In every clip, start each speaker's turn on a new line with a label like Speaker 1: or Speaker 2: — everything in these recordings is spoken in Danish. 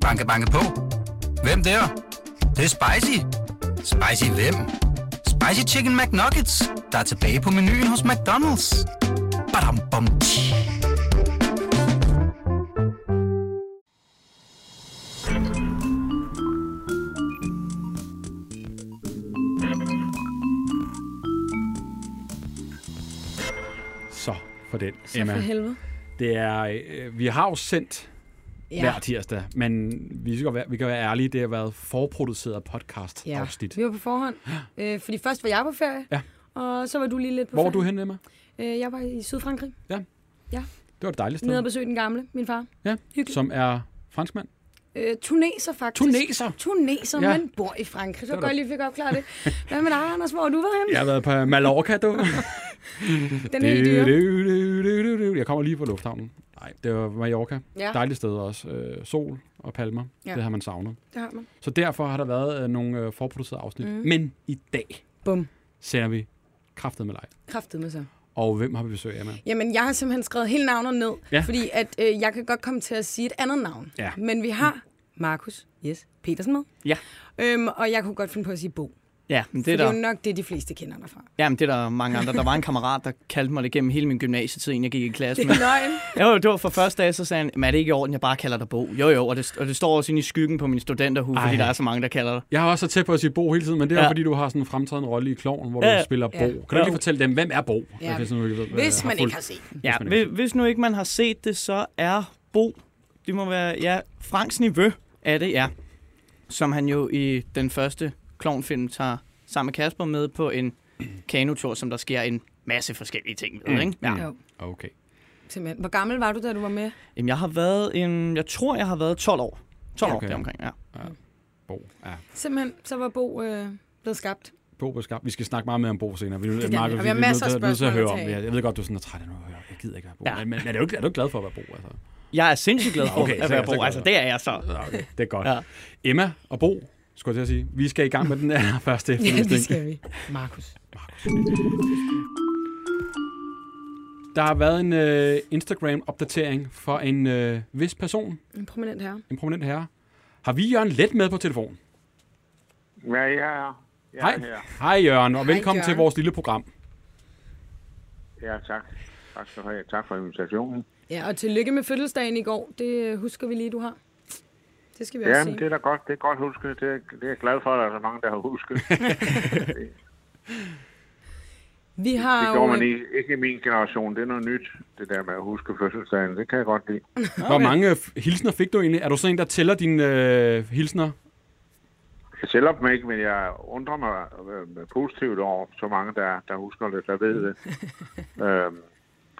Speaker 1: Banke, banke på. Hvem der? Det, er? det er spicy. Spicy hvem? Spicy Chicken McNuggets, der er tilbage på menuen hos McDonald's. Badum, bom, tji.
Speaker 2: Så for den,
Speaker 3: Så for helvede.
Speaker 2: Det er, øh, vi har jo sendt ja. hver tirsdag, men vi, skal godt være, vi kan være ærlige, det har været forproduceret podcast-afsnit.
Speaker 3: Vi var på forhånd. Øh, fordi først var jeg på ferie,
Speaker 2: Ja.
Speaker 3: og så var du lige lidt på
Speaker 2: Hvor var
Speaker 3: ferie.
Speaker 2: du henne, Emma?
Speaker 3: Øh, jeg var i Sydfrankrig,
Speaker 2: Det var det dejligste
Speaker 3: nede og
Speaker 2: sted.
Speaker 3: besøgte den gamle, min far.
Speaker 2: Ja,
Speaker 3: Hyggeligt.
Speaker 2: som er franskmand.
Speaker 3: Øh, tuneser, faktisk.
Speaker 2: Tuneser!
Speaker 3: Tuneser,
Speaker 2: Ja.
Speaker 3: ja. men bor i Frankrig. Så
Speaker 2: Det var
Speaker 3: godt jeg
Speaker 2: da-
Speaker 3: lige fik opklaret det. Hvad med dig, Anders? Hvor har du var henne?
Speaker 2: Jeg har været på Mallorca, du.
Speaker 3: Den er helt dyre.
Speaker 2: Jeg kommer lige fra lufthavnen. Nej, det var Mallorca.
Speaker 3: Ja,
Speaker 2: Dejligt sted også. Øh, sol og palmer.
Speaker 3: Ja.
Speaker 2: Det har man savnet.
Speaker 3: det har man.
Speaker 2: Så derfor har der været øh, nogle øh, forproducerede afsnit.
Speaker 3: Mm.
Speaker 2: Mm. Men i dag
Speaker 3: Bum.
Speaker 2: sender vi kraftet med live.
Speaker 3: Kræftet med sig.
Speaker 2: Og hvem har vi besøg af, Emma?
Speaker 3: Jamen, jeg har simpelthen skrevet hele navnet ned,
Speaker 2: Ja.
Speaker 3: ja. fordi at, øh, jeg kan godt komme til at sige et andet navn.
Speaker 2: Ja.
Speaker 3: Men vi har Markus Jes Petersen med.
Speaker 4: Ja.
Speaker 3: Øhm, og jeg kunne godt finde på at sige Bo.
Speaker 4: Ja, men
Speaker 3: Det
Speaker 4: det
Speaker 3: er,
Speaker 4: er
Speaker 3: det er
Speaker 4: der,
Speaker 3: jo nok det, de fleste kender dig fra.
Speaker 4: jamen, det er der mange andre. Der var en kammerat, der kaldte mig det gennem hele min gymnasietid, inden jeg gik i klasse.
Speaker 3: Det
Speaker 4: Men,
Speaker 3: er løgn.
Speaker 4: jo, det var for første dag, så sagde han, "Men er det ikke i orden, jeg bare kalder dig Bo? Jo, jo, og det, og det står også inde i skyggen på min studenterhue,
Speaker 2: Ej.
Speaker 4: fordi der er så mange, der kalder dig.
Speaker 2: Jeg har også så tæt på at sige Bo hele tiden, men det er ja.
Speaker 4: Ja.
Speaker 2: fordi, du har sådan en fremtrædende rolle i Kloven, hvor
Speaker 4: Ja,
Speaker 2: du
Speaker 4: ja.
Speaker 2: spiller Bo.
Speaker 3: Ja.
Speaker 2: Kan du ikke lige fortælle dem, hvem er Bo?
Speaker 3: Ja.
Speaker 2: Hvis, nu ikke ved, hvad-
Speaker 3: Hvis man
Speaker 2: fulgt-
Speaker 3: ikke har set den.
Speaker 4: Ja,
Speaker 2: man ikke-
Speaker 4: hvis, hvis nu ikke man har set det, så er Bo, det må være, ja, Franks Niveau er det, ja. Som han jo i den første klovnfilm tager sammen med Kasper med på en kanotur, som der sker en masse forskellige ting ved,
Speaker 2: Mm.
Speaker 4: ikke? Ja.
Speaker 2: Mm.
Speaker 3: Jo,
Speaker 2: Okay.
Speaker 3: simpelthen. Hvor gammel var du, da du var med?
Speaker 4: Jamen, jeg har været en, jeg tror, jeg har været 12 år. 12
Speaker 2: Okay.
Speaker 4: år deromkring, ja.
Speaker 2: Bo. Ja.
Speaker 3: Simpelthen, så var Bo øh, blevet skabt.
Speaker 2: Bo på skab. Vi skal snakke meget mere om Bo senere. Vi, det
Speaker 3: gerne. Og vi har masser af
Speaker 2: nødt til at
Speaker 3: spørgsmål
Speaker 2: høre
Speaker 3: at
Speaker 2: om.
Speaker 3: tage.
Speaker 2: Jeg, jeg ved godt, du er sådan, at træt af nu. Jeg gider ikke være Bo.
Speaker 4: Ja.
Speaker 2: Ja. Men, men er, du ikke, er du ikke glad for at være Bo? Altså?
Speaker 4: Jeg er sindssygt glad for
Speaker 2: Okay,
Speaker 4: okay, at
Speaker 2: så er
Speaker 4: være
Speaker 2: det godt.
Speaker 4: på. Altså, det er jeg så.
Speaker 2: Nå, Okay, det er godt. Ja.
Speaker 4: Ja.
Speaker 2: Emma og Bo, skulle jeg til at sige. Vi skal i gang med den her første
Speaker 3: Ja, det
Speaker 2: efterlysning.
Speaker 3: skal vi. Markus.
Speaker 2: Der har været en øh, Instagram-opdatering for en øh, vis person,
Speaker 3: En prominent herre.
Speaker 2: en prominent herre. Har vi Jørgen Let med på telefon?
Speaker 5: Ja, jeg er. Jeg
Speaker 2: Hej.
Speaker 5: er her.
Speaker 2: Hej Jørgen, og
Speaker 3: Hej,
Speaker 2: velkommen til
Speaker 3: Jørgen.
Speaker 2: vores lille program.
Speaker 5: Ja, tak. Tak skal du have. Tak for invitationen.
Speaker 3: Ja, og tillykke med fødselsdagen i går. Det øh, husker vi lige, du har. Det skal vi
Speaker 5: Ja,
Speaker 3: også
Speaker 5: men
Speaker 3: sige.
Speaker 5: det er da godt. Det er godt husket. Det er, det er jeg glad for, at der er så mange, der har husket.
Speaker 3: vi har
Speaker 5: Det gjorde
Speaker 3: jo,
Speaker 5: man
Speaker 3: øh,
Speaker 5: ikke, ikke i min generation. Det er noget nyt, det der med at huske fødselsdagen. Det kan jeg godt lide.
Speaker 2: Hvor mange f- hilsner fik du egentlig? Er du sådan en, der tæller dine øh, hilsner?
Speaker 5: Jeg selv dem ikke, men jeg undrer mig øh, positivt over så mange, der, der husker det, der ved det. øhm,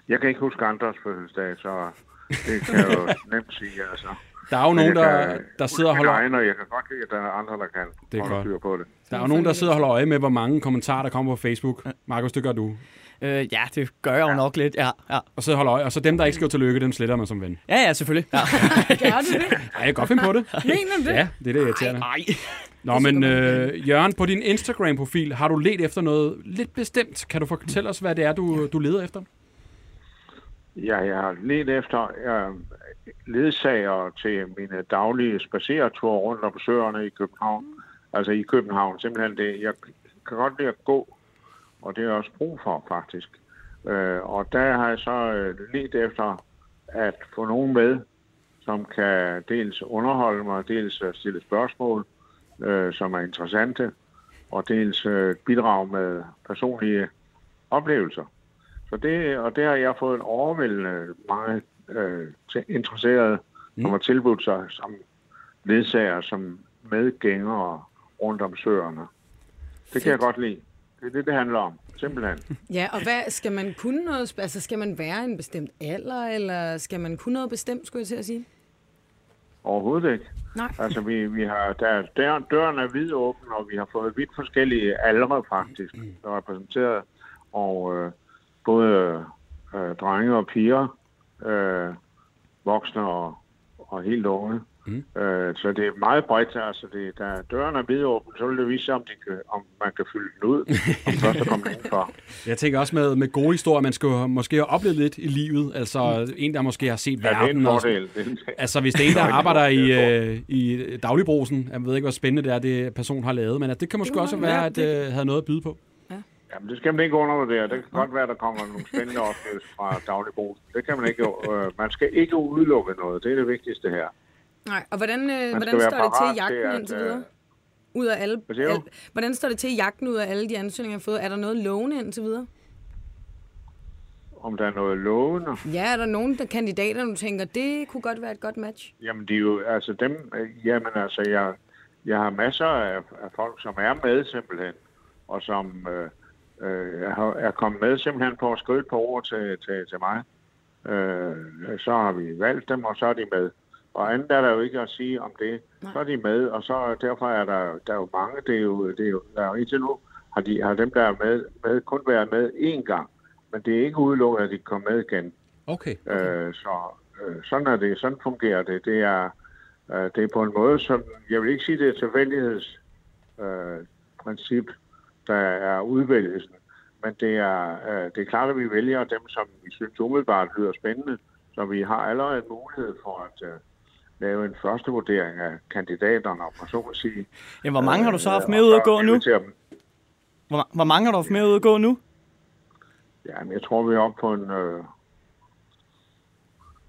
Speaker 5: jeg kan ikke huske andres fødselsdag, så det kan jeg jo nemt sige. Altså.
Speaker 2: Der er jo
Speaker 5: Men
Speaker 2: nogen,
Speaker 5: jeg
Speaker 2: der,
Speaker 5: kan
Speaker 2: der
Speaker 5: huske
Speaker 2: sidder og holder
Speaker 5: mine egne, og jeg kan godt lide, at der er andre, der kan.
Speaker 2: Det er
Speaker 5: holde
Speaker 2: godt.
Speaker 5: styr på det.
Speaker 2: Der er jo nogen, der sidder og holder øje med, hvor mange kommentarer, der kommer på Facebook. Markus, det gør du.
Speaker 4: Øh, ja, det gør jeg jo nok lidt. Ja, ja.
Speaker 2: Og så holder øje. Og så dem, der ikke skriver tillykke, dem sletter man som ven.
Speaker 4: Ja, ja, selvfølgelig. Ja.
Speaker 3: gør du det?
Speaker 2: Ej, jeg kan godt finde på det.
Speaker 3: Mener du det?
Speaker 2: Ja, det er det irriterende.
Speaker 4: Ej.
Speaker 2: Nå, men øh, Jørgen, på din Instagram-profil har du let efter noget lidt bestemt. Kan du fortælle os, hvad det er, du, du leder efter?
Speaker 5: Ja, jeg har let efter øh, ledsager til mine daglige spacereture rundt om søerne i København. Altså i København, simpelthen det. Jeg kan godt lide at gå, og det er jeg også brug for, faktisk. Øh, og der har jeg så øh, let efter at få nogen med, som kan dels underholde mig, dels øh, stille spørgsmål, øh, som er interessante, og dels øh, bidrage med personlige oplevelser. Så det, og det har jeg fået en overvældende mange øh, til- interesserede, som har tilbudt sig som ledsager, som medgængere rundt om søerne. Det kan jeg godt lide. Det er det, det handler om. Simpelthen.
Speaker 3: Ja, og hvad skal man kunne noget? sp- Altså, skal man være en bestemt alder, eller skal man kunne noget bestemt, skulle jeg til at sige?
Speaker 5: Overhovedet ikke.
Speaker 3: Nej.
Speaker 5: Altså, vi, vi har, der, der, døren er vidåben, og vi har fået vidt forskellige aldre, faktisk,
Speaker 2: Mm.
Speaker 5: der er repræsenteret. Og øh, både øh, drenge og piger, øh, voksne og, og helt unge. Mm. Øh, så det er meget bredt. Altså det, da døren er vidåben, så vil det vise sig, om, de kan, om man kan fylde den ud, om først er kommet indenfor.
Speaker 2: Jeg tænker også med, med gode historier, man skulle måske have oplevet lidt i livet. Altså mm. en, der måske har set
Speaker 5: Ja, det er en
Speaker 2: verden. og-
Speaker 5: fordel. Det er en-
Speaker 2: Altså hvis det er en, der arbejder i, øh, i dagligbrosen, jeg ved ikke, hvor spændende det er, det person har lavet, men altså, det kan måske
Speaker 3: kunne
Speaker 2: også
Speaker 3: nok
Speaker 2: være,
Speaker 3: være,
Speaker 2: at
Speaker 3: det-
Speaker 2: øh, havde noget at byde på.
Speaker 5: Jamen, det skal man ikke undervurdere. Det kan godt være, der kommer nogle spændende oplevelser fra dagligbrugen. Det kan man ikke. Øh, man skal ikke udelukke noget. Det er det vigtigste her.
Speaker 3: Nej, og hvordan, øh,
Speaker 5: Man skal
Speaker 3: hvordan
Speaker 5: være
Speaker 3: står det
Speaker 5: parat
Speaker 3: til i jagten
Speaker 5: at,
Speaker 3: indtil
Speaker 5: øh,
Speaker 3: videre? Ud af alle,
Speaker 5: Hvad siger du?
Speaker 3: al, hvordan står det til i jagten ud af alle de ansøgninger, jeg har fået? Er der noget lovende indtil videre?
Speaker 5: Om der er noget lovende.
Speaker 3: Ja, er der nogen der kandidater, du tænker, det kunne godt være et godt match?
Speaker 5: Jamen, de er jo, altså dem, øh, jamen altså, jeg, jeg har masser af, af folk, som er med simpelthen, og som øh, øh, har- er kommet med simpelthen på at skrive et par ord til, til, til mig. Øh, så har vi valgt dem, og så er de med. Og andet er der jo ikke at sige om det. Så er de med, og så derfor er der, der er jo mange, det er jo, det er jo, der er jo indtil nu, har, de, har dem, der er med, med, kun været med én gang. Men det er ikke udelukket, at de kommer med igen.
Speaker 2: Okay.
Speaker 5: Øh, så øh, sådan er det. Sådan fungerer det. Det er, øh, det er på en måde, som jeg vil ikke sige, det er tilfældighedsprincip, øh, princip, der er udvælgelsen. Men det er, øh, det er klart, at vi vælger dem, som vi synes umiddelbart lyder spændende, så vi har allerede en mulighed for at øh, lave en første vurdering af kandidaterne, om man så må sige.
Speaker 4: Ja, hvor mange har du så haft
Speaker 5: Øh,
Speaker 4: med
Speaker 5: og
Speaker 4: ud
Speaker 5: så
Speaker 4: at gå nu?
Speaker 5: invitere dem.
Speaker 4: Hvor, hvor mange har du haft med ud at gå nu?
Speaker 5: Jamen, jeg tror, vi er oppe på en... Øh...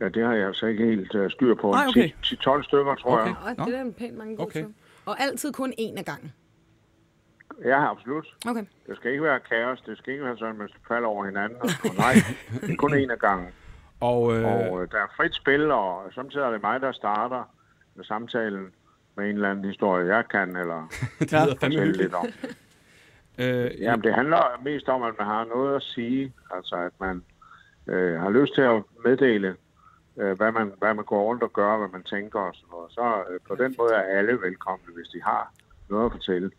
Speaker 5: Ja, det har jeg altså ikke helt øh, styr på.
Speaker 4: Nej, okay.
Speaker 5: 10-12 stykker, tror
Speaker 2: Okay.
Speaker 5: jeg.
Speaker 3: Og
Speaker 2: Nå.
Speaker 3: det der er en pænt mange gode
Speaker 2: Okay.
Speaker 3: okay. Og altid kun én af gangen.
Speaker 5: Ja, absolut.
Speaker 3: Okay.
Speaker 5: Det skal ikke være kaos. Det skal ikke være sådan, at man falder over hinanden. Og, og nej, det er kun en af gangen.
Speaker 2: Og, øh,
Speaker 5: Og øh, der er frit spil, og samtidig er det mig, der starter med samtalen med en eller anden historie, jeg kan, eller
Speaker 2: det lyder fandme
Speaker 5: fortælle
Speaker 2: hyggeligt.
Speaker 5: lidt om.
Speaker 2: Øh, ja.
Speaker 5: Jamen, det handler mest om, at man har noget at sige. Altså, at man øh, har lyst til at meddele, øh, hvad, man, hvad man går rundt og gør, hvad man tænker og sådan noget. Så øh, på den måde er alle velkomne, hvis de har noget at fortælle.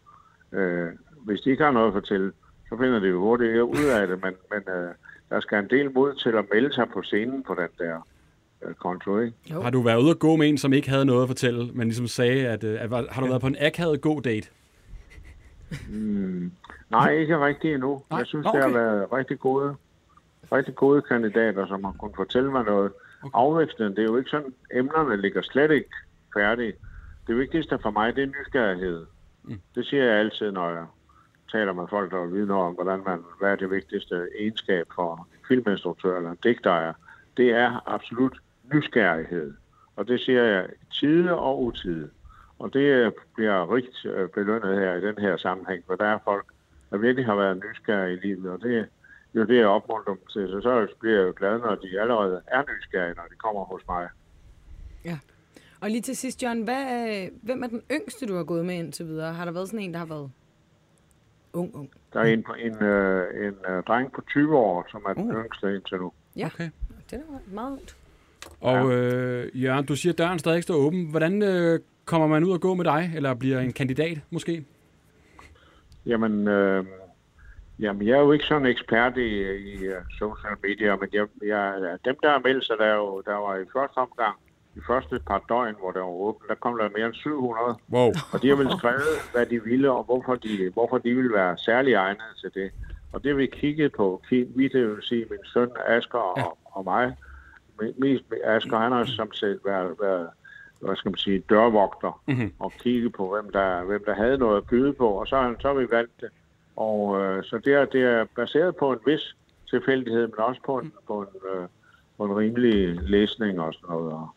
Speaker 5: Øh, hvis de ikke har noget at fortælle, så finder de jo hurtigt ud af det. Men, men øh, der skal en del mod til at melde sig på scenen på den der øh, konto, ikke?
Speaker 2: Har du været ude at gå med en, som ikke havde noget at fortælle, men ligesom sagde, at, øh, at var- har du været på en akavet god date?
Speaker 5: Nej, ikke rigtigt endnu.
Speaker 2: Nej,
Speaker 5: Jeg synes,
Speaker 2: nå,
Speaker 5: okay. det
Speaker 2: okay.
Speaker 5: har været rigtig gode, rigtig gode kandidater, som har kunnet fortælle mig noget. Okay. Afvekslende, det er jo ikke sådan, emnerne ligger slet ikke færdige. Det vigtigste for mig, det er nysgerrighed. Mm. Det siger jeg altid, når jeg taler med folk, der vil vide noget om, hvordan man, hvad er det vigtigste egenskab for en filminstruktør eller en digter er. Det er absolut nysgerrighed. Og det siger jeg tide og utide. Og det øh, bliver rigt øh, belønnet her i den her sammenhæng, for der er folk, der virkelig har været nysgerrige i livet, og det er jo det, jeg opmuntrer dem til. Så, så bliver jeg jo glad, når de allerede er nysgerrige, når de kommer hos mig.
Speaker 3: Ja. Og lige til sidst, Jørgen, hvad, øh, hvem er den yngste, du har gået med indtil videre? Har der været sådan en, der har været ung, ung?
Speaker 5: Der er en, en, øh, en øh, dreng på 20 år, som er den yngste indtil nu.
Speaker 3: Ja,
Speaker 2: Okay.
Speaker 3: det er da meget ungt.
Speaker 2: Og øh, Jørgen, du siger, at døren stadig står åben. Hvordan øh, kommer man ud og gå med dig? Eller bliver en kandidat, måske?
Speaker 5: Jamen, øh, jamen, jeg er jo ikke sådan ekspert i, i øh, social media, men jeg, jeg, dem, der er meldt sig, der, jo, der var i første omgang, de første par døgn, hvor der var åbent, der kom der mere end 700.
Speaker 2: Wow.
Speaker 5: Og de har vel skrevet, hvad de ville, og hvorfor de, hvorfor de ville være særlig egnet til det. Og det har vi kigget på, Ki- vi det vil sige min søn Asger og, ja. og mig, Me- mest med Asger, han har som set været, været hvad skal man sige, dørvogter, mm-hmm. og kigge på, hvem der, hvem der havde noget at byde på, og så, har han- så har vi valgt det. Og øh, så det er, det er baseret på en vis tilfældighed, men også på en, på en, øh, på en rimelig læsning og sådan noget, og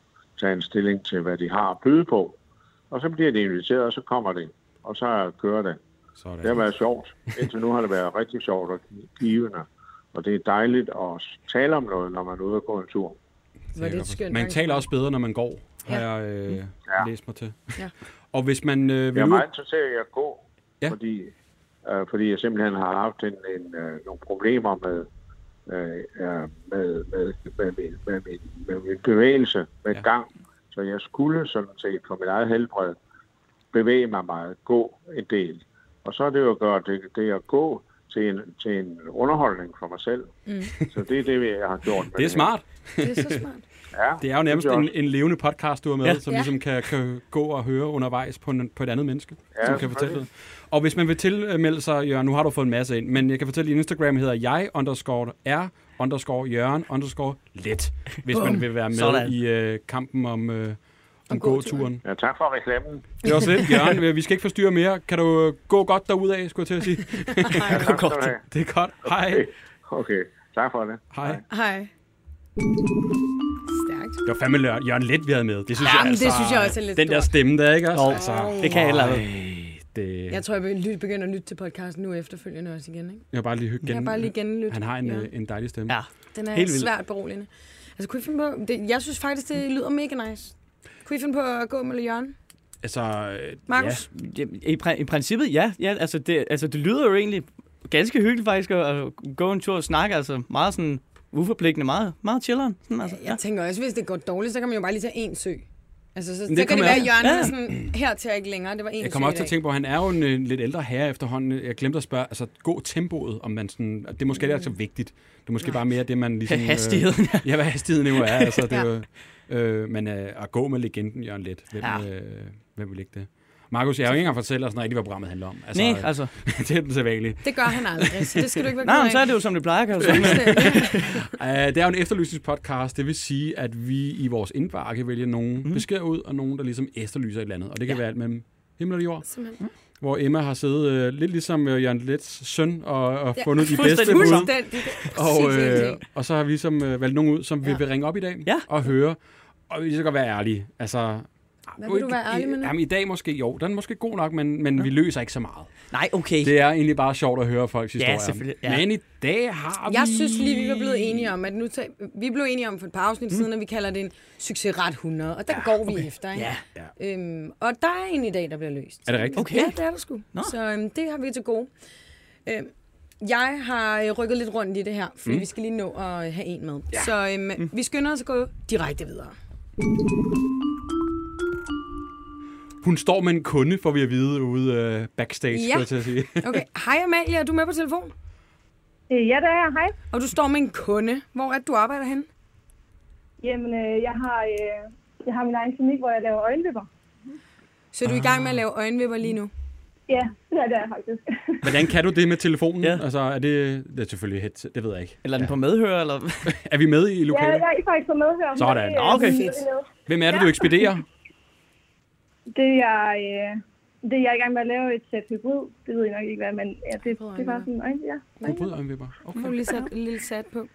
Speaker 5: tage en stilling til, hvad de har at byde på. Og så bliver de inviteret, og så kommer det, og så kører det.
Speaker 2: Sådan.
Speaker 5: Det har været sjovt. Indtil nu har det været rigtig sjovt og givende. Og det er dejligt at tale om noget, når man er ude og gå en tur.
Speaker 3: Var det et skønt
Speaker 2: man
Speaker 3: arrangement.
Speaker 2: taler også bedre, når man går, har
Speaker 3: Ja.
Speaker 2: jeg øh,
Speaker 5: Ja.
Speaker 2: læst mig til.
Speaker 3: Ja.
Speaker 2: Og hvis man øh,
Speaker 5: Jeg
Speaker 2: vil
Speaker 5: er
Speaker 2: ud...
Speaker 5: meget interesseret i at gå,
Speaker 2: Ja.
Speaker 5: ja. fordi, øh, fordi jeg simpelthen har haft en, en, øh, nogle problemer med, øh, øh, med, med, med, min, med, min, med min bevægelse, med
Speaker 2: Ja.
Speaker 5: ja. gang. Så jeg skulle sådan set for mit eget helbred bevæge mig meget, gå en del. Og så er det jo at gøre det, det at gå til en, til en underholdning for mig selv. Mm. Så det er det, jeg har gjort. med
Speaker 2: Det er
Speaker 5: her.
Speaker 2: smart.
Speaker 3: Det er så smart.
Speaker 5: Ja,
Speaker 2: Det er jo nærmest
Speaker 5: det er
Speaker 2: en,
Speaker 5: også-
Speaker 2: en levende podcast, du har med, ja.
Speaker 4: Ja.
Speaker 2: som
Speaker 3: Ja.
Speaker 2: ligesom kan, kan gå og høre undervejs på, en, på et andet menneske,
Speaker 5: Ja,
Speaker 2: ja, som kan fortælle det. Og hvis man vil tilmelde sig, Jørgen, nu har du fået en masse ind, men jeg kan fortælle, at Instagram hedder jeg underscore r underscore Jørgen underscore let, hvis man vil være med
Speaker 4: Sådan.
Speaker 2: i øh, kampen om, øh, om, om
Speaker 3: gåturen.
Speaker 2: gåturen.
Speaker 5: Ja, tak for reklamen.
Speaker 2: Det er også lidt, Jørgen, Øh, vi skal ikke forstyrre mere. Kan du øh, gå godt derudad, skulle jeg til at sige.
Speaker 5: Ja, tak skal du have.
Speaker 2: Det er godt. Hej.
Speaker 5: Okay. okay, tak for det.
Speaker 2: Hej. Det
Speaker 3: Hej. Stærkt.
Speaker 2: var fandme Lør- Jørgen Let, vi havde med. Det synes jeg
Speaker 3: Jamen,
Speaker 2: altså...
Speaker 3: det synes jeg også er lidt
Speaker 2: Den der
Speaker 3: stort.
Speaker 2: stemme der, ikke også?
Speaker 4: Jo,
Speaker 2: Altså,
Speaker 4: det kan jeg heller ikke.
Speaker 2: det...
Speaker 3: Jeg tror, jeg vil lytte- begynde at lytte til podcasten nu efterfølgende også igen. Ikke?
Speaker 2: Jeg har bare lige hørt
Speaker 3: Jeg kan
Speaker 2: gen...
Speaker 3: bare lige genlytte.
Speaker 2: Han har en,
Speaker 3: Ja.
Speaker 2: øh, en dejlig stemme.
Speaker 4: Ja.
Speaker 3: Den er
Speaker 4: Helt
Speaker 3: Helt
Speaker 4: vildt.
Speaker 3: svært beroligende. Altså, kunne I finde på... Det, jeg synes faktisk, det lyder mega nice. Kunne I finde på at gå med Jørgen?
Speaker 2: Altså, øh,
Speaker 3: Markus?
Speaker 2: Ja.
Speaker 4: I, pr- I princippet, ja. ja altså, det, altså, det lyder jo egentlig ganske hyggeligt faktisk at, at gå en tur og snakke. Altså, meget sådan uforpligtende, meget, meget chilleren. Sådan, altså, ja.
Speaker 3: Jeg tænker også, hvis det går dårligt, så kan man jo bare lige tage en sø. Altså, så, så
Speaker 2: det
Speaker 3: kan det
Speaker 2: kommer
Speaker 3: være,
Speaker 2: jeg-
Speaker 3: at Jørgen
Speaker 4: Ja.
Speaker 3: er sådan, her til jeg ikke længere. Det var en
Speaker 2: Jeg
Speaker 3: sø
Speaker 2: kommer også
Speaker 3: i
Speaker 2: til at
Speaker 3: dag."
Speaker 2: tænke på, at han er jo en, øh, lidt ældre herre efterhånden. Jeg glemte at spørge, altså gå tempoet, om man sådan... at Det er måske ikke er
Speaker 3: Mm.
Speaker 2: så vigtigt. Det er måske bare mere det, man ligesom... øh,
Speaker 4: Hastigheden.
Speaker 2: Ja, hvad hastigheden jo er. Altså, det er
Speaker 3: Ja.
Speaker 2: jo, øh, men øh, at gå med legenden, Jørgen Let. Hvem,
Speaker 4: Ja.
Speaker 2: øh, hvem vil ikke det? Markus, jeg har jo ikke engang fortalt dig sådan rigtigt, hvad programmet handler om. Altså,
Speaker 4: Nej,
Speaker 2: øh,
Speaker 4: altså.
Speaker 2: det er den sædvanlige.
Speaker 3: Det gør han aldrig, så det skal du ikke være
Speaker 4: Nej, men
Speaker 3: ked
Speaker 4: så er
Speaker 3: af.
Speaker 4: det jo, som det plejer, kan jeg jo sige.
Speaker 2: Uh, det er jo en efterlysningspodcast. Det vil sige, at vi i vores indbakke kan vælge nogle
Speaker 3: Mhm.
Speaker 2: mm. beskeder ud, og nogen, der ligesom efterlyser et eller andet. Og det kan
Speaker 4: Ja.
Speaker 2: ja. være alt mellem himmel og jord.
Speaker 3: Simpelthen.
Speaker 2: Hvor Emma har siddet øh, lidt ligesom øh, Jørgen Lets søn og, og ja, fundet de bedste
Speaker 4: fuldstændig.
Speaker 2: bud.
Speaker 3: Fuldstændig.
Speaker 2: Og,
Speaker 3: Præcis,
Speaker 2: øh,
Speaker 3: ingenting.
Speaker 2: og så har vi ligesom øh, valgt nogen ud, som ja. vi
Speaker 3: Ja.
Speaker 2: vil ringe op i dag
Speaker 4: Ja.
Speaker 2: og høre. Og vi skal godt være ærlige. Altså,
Speaker 3: Hvad vil du være ærlig med nu?
Speaker 2: Jamen, i dag måske, jo, den er måske god nok, men, men ja. vi løser ikke så meget.
Speaker 4: Nej, okay.
Speaker 2: Det er egentlig bare sjovt at høre folks historier.
Speaker 4: selvfølgelig, ja.
Speaker 2: Men i dag har vi...
Speaker 3: Jeg synes lige, vi var blevet enige om, at nu tag... vi blev enige om for et par afsnit siden, at vi kalder det en succesret 100, og den ja, går vi okay. efter. Ikke?
Speaker 4: Ja.
Speaker 3: Ja. Øhm, og der er en i dag, der bliver løst.
Speaker 2: Er det rigtigt?
Speaker 4: Okay.
Speaker 3: Ja, det er der sgu.
Speaker 4: Nå.
Speaker 3: Så øhm, det har vi til gode. Øhm, jeg har øh, rykket lidt rundt i det her, fordi mm. vi skal lige nå at øh, have en med. Ja. Så øhm, mm. vi skynder os at gå direkte videre.
Speaker 2: Hun står med en kunde, får vi at vide, ude øh, backstage, ja.
Speaker 3: Ja.
Speaker 2: skulle jeg til at sige.
Speaker 3: Okay, hej Amalie, er du med på telefon?
Speaker 6: Øh, Ja, det er jeg. Hej.
Speaker 3: Og du står med en kunde. Hvor er det, du arbejder henne?
Speaker 6: Jamen, øh, jeg har, øh, jeg har min egen klinik, hvor jeg laver øjenvipper.
Speaker 3: Så er du i gang med at lave øjenvipper lige nu?
Speaker 6: Ja, det er det er jeg faktisk.
Speaker 2: Hvordan kan du det med telefonen? Ja.
Speaker 4: Ja.
Speaker 2: Altså, er det... Det er selvfølgelig head, det ved jeg ikke.
Speaker 4: Eller er den på medhør, eller...
Speaker 2: Er vi med i
Speaker 6: ja,
Speaker 2: lokalet?
Speaker 6: jeg er faktisk på medhør. men
Speaker 2: Sådan.
Speaker 6: det øh, er-
Speaker 4: Okay.
Speaker 6: det er-
Speaker 2: Hvem er det, du ekspederer?
Speaker 6: Det er jeg, øh, det er jeg er i gang med at lave et sæt hybrid. Det ved jeg nok ikke, hvad, men ja, det, det er bare sådan, øjen, ja.
Speaker 2: Du bryder øjenvipper. Okay.
Speaker 3: Nu har du lige sat en lille sat på.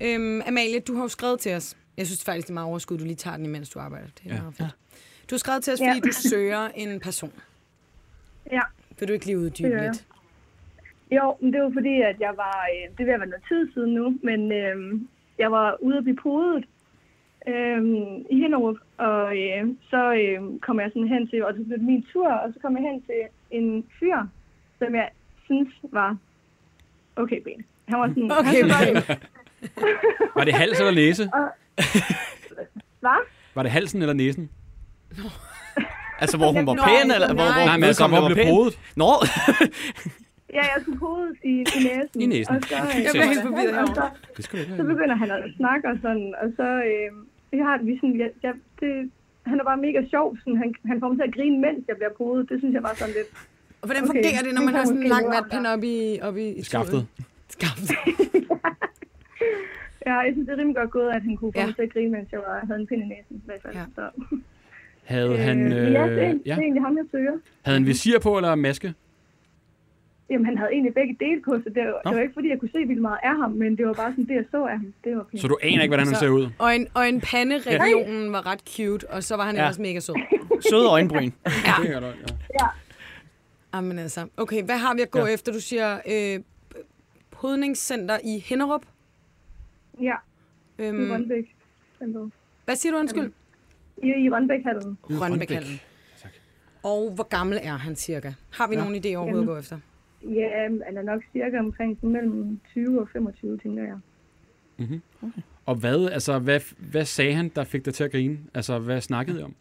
Speaker 3: Øhm, Amalie, du har jo skrevet til os. Jeg synes faktisk, det er meget overskud, du lige tager den, imens du arbejder. Det er
Speaker 2: Ja.
Speaker 3: ja. meget fedt. Du har skrevet til os, fordi
Speaker 6: Ja.
Speaker 3: du søger en person.
Speaker 6: Ja.
Speaker 3: Vil du ikke lige uddybe
Speaker 6: Det gør jeg.
Speaker 3: lidt?
Speaker 6: Jo, men det var fordi, at jeg var, øh, det vil være noget tid siden nu, men øh, jeg var ude at blive podet øh, i Hinderup, og øh, så øh, kom jeg sådan hen til, og det blev min tur, og så kom jeg hen til en fyr, som jeg synes var okay ben. Han var sådan,
Speaker 3: Okay, bare
Speaker 2: Var det hals eller næse?
Speaker 6: var?
Speaker 2: Var det halsen eller næsen?
Speaker 4: altså, hvor hun var
Speaker 3: Nå,
Speaker 4: pæn, eller... Hvor, hvor
Speaker 2: Nej, men altså,
Speaker 4: vedkommende
Speaker 2: hvor blev
Speaker 4: var pæn?
Speaker 2: podet?
Speaker 4: Nå,
Speaker 6: Ja, jeg skulle podes i, i næsen.
Speaker 2: I næsen.
Speaker 6: Og så, øh,
Speaker 3: Jeg bliver helt forvirret
Speaker 6: og så,
Speaker 2: Det skal du ikke
Speaker 6: så
Speaker 2: have.
Speaker 6: begynder han at snakke og sådan, og så, øh, jeg har, vi sådan, jeg, jeg, det, han er bare mega sjov, sådan, han, han får mig til at grine, mens jeg bliver podet, det synes jeg var sådan lidt,
Speaker 3: Og Hvordan
Speaker 6: Okay,
Speaker 3: fungerer det, når
Speaker 6: det
Speaker 3: man
Speaker 6: kan
Speaker 3: har sådan en
Speaker 6: måske
Speaker 3: lang
Speaker 6: være.
Speaker 3: vatpind op i, op i i
Speaker 2: Skaftet.
Speaker 3: tuden? Skaftet.
Speaker 6: ja, jeg synes, det er rimelig godt gået, at han kunne få
Speaker 3: Ja.
Speaker 6: mig til at grine, mens jeg var, havde en pind i næsen, i hvert fald.
Speaker 3: Ja.
Speaker 6: Så,
Speaker 2: Havde han,
Speaker 6: øh, ja, det, er,
Speaker 2: øh,
Speaker 6: det
Speaker 2: ja.
Speaker 6: er egentlig ham, jeg søger.
Speaker 2: havde han visir på eller maske?
Speaker 6: Jamen, han havde egentlig begge dele på, så det var, det var ikke, fordi jeg kunne se vildt meget af ham, men det var bare sådan det, jeg så af ham. Det var pænt.
Speaker 2: Så du aner ikke, hvordan han
Speaker 3: Så-
Speaker 2: ser ud?
Speaker 3: Og en, og en panderegionen var ret cute, og så var han ja.
Speaker 4: Ja.
Speaker 3: ellers mega sød.
Speaker 4: søde øjenbryn.
Speaker 2: Det er der, ja.
Speaker 3: Jamen altså. Okay, hvad har vi at gå ja. efter? Du siger øh, podningscenter i Hinderup.
Speaker 6: Ja, i
Speaker 3: Øhm,
Speaker 6: Rønbæk.
Speaker 3: hvad siger du, undskyld?
Speaker 6: I, i Rønbæk-hallen.
Speaker 3: Rønbækhallen. Og hvor gammel er han cirka? Har vi ja. nogen idé overhovedet at gå efter?
Speaker 6: Ja, han er nok cirka omkring sådan mellem 20 og 25, tænker jeg.
Speaker 2: Og hvad, altså, hvad, hvad sagde han, der fik dig til at grine? Altså, hvad snakkede I om?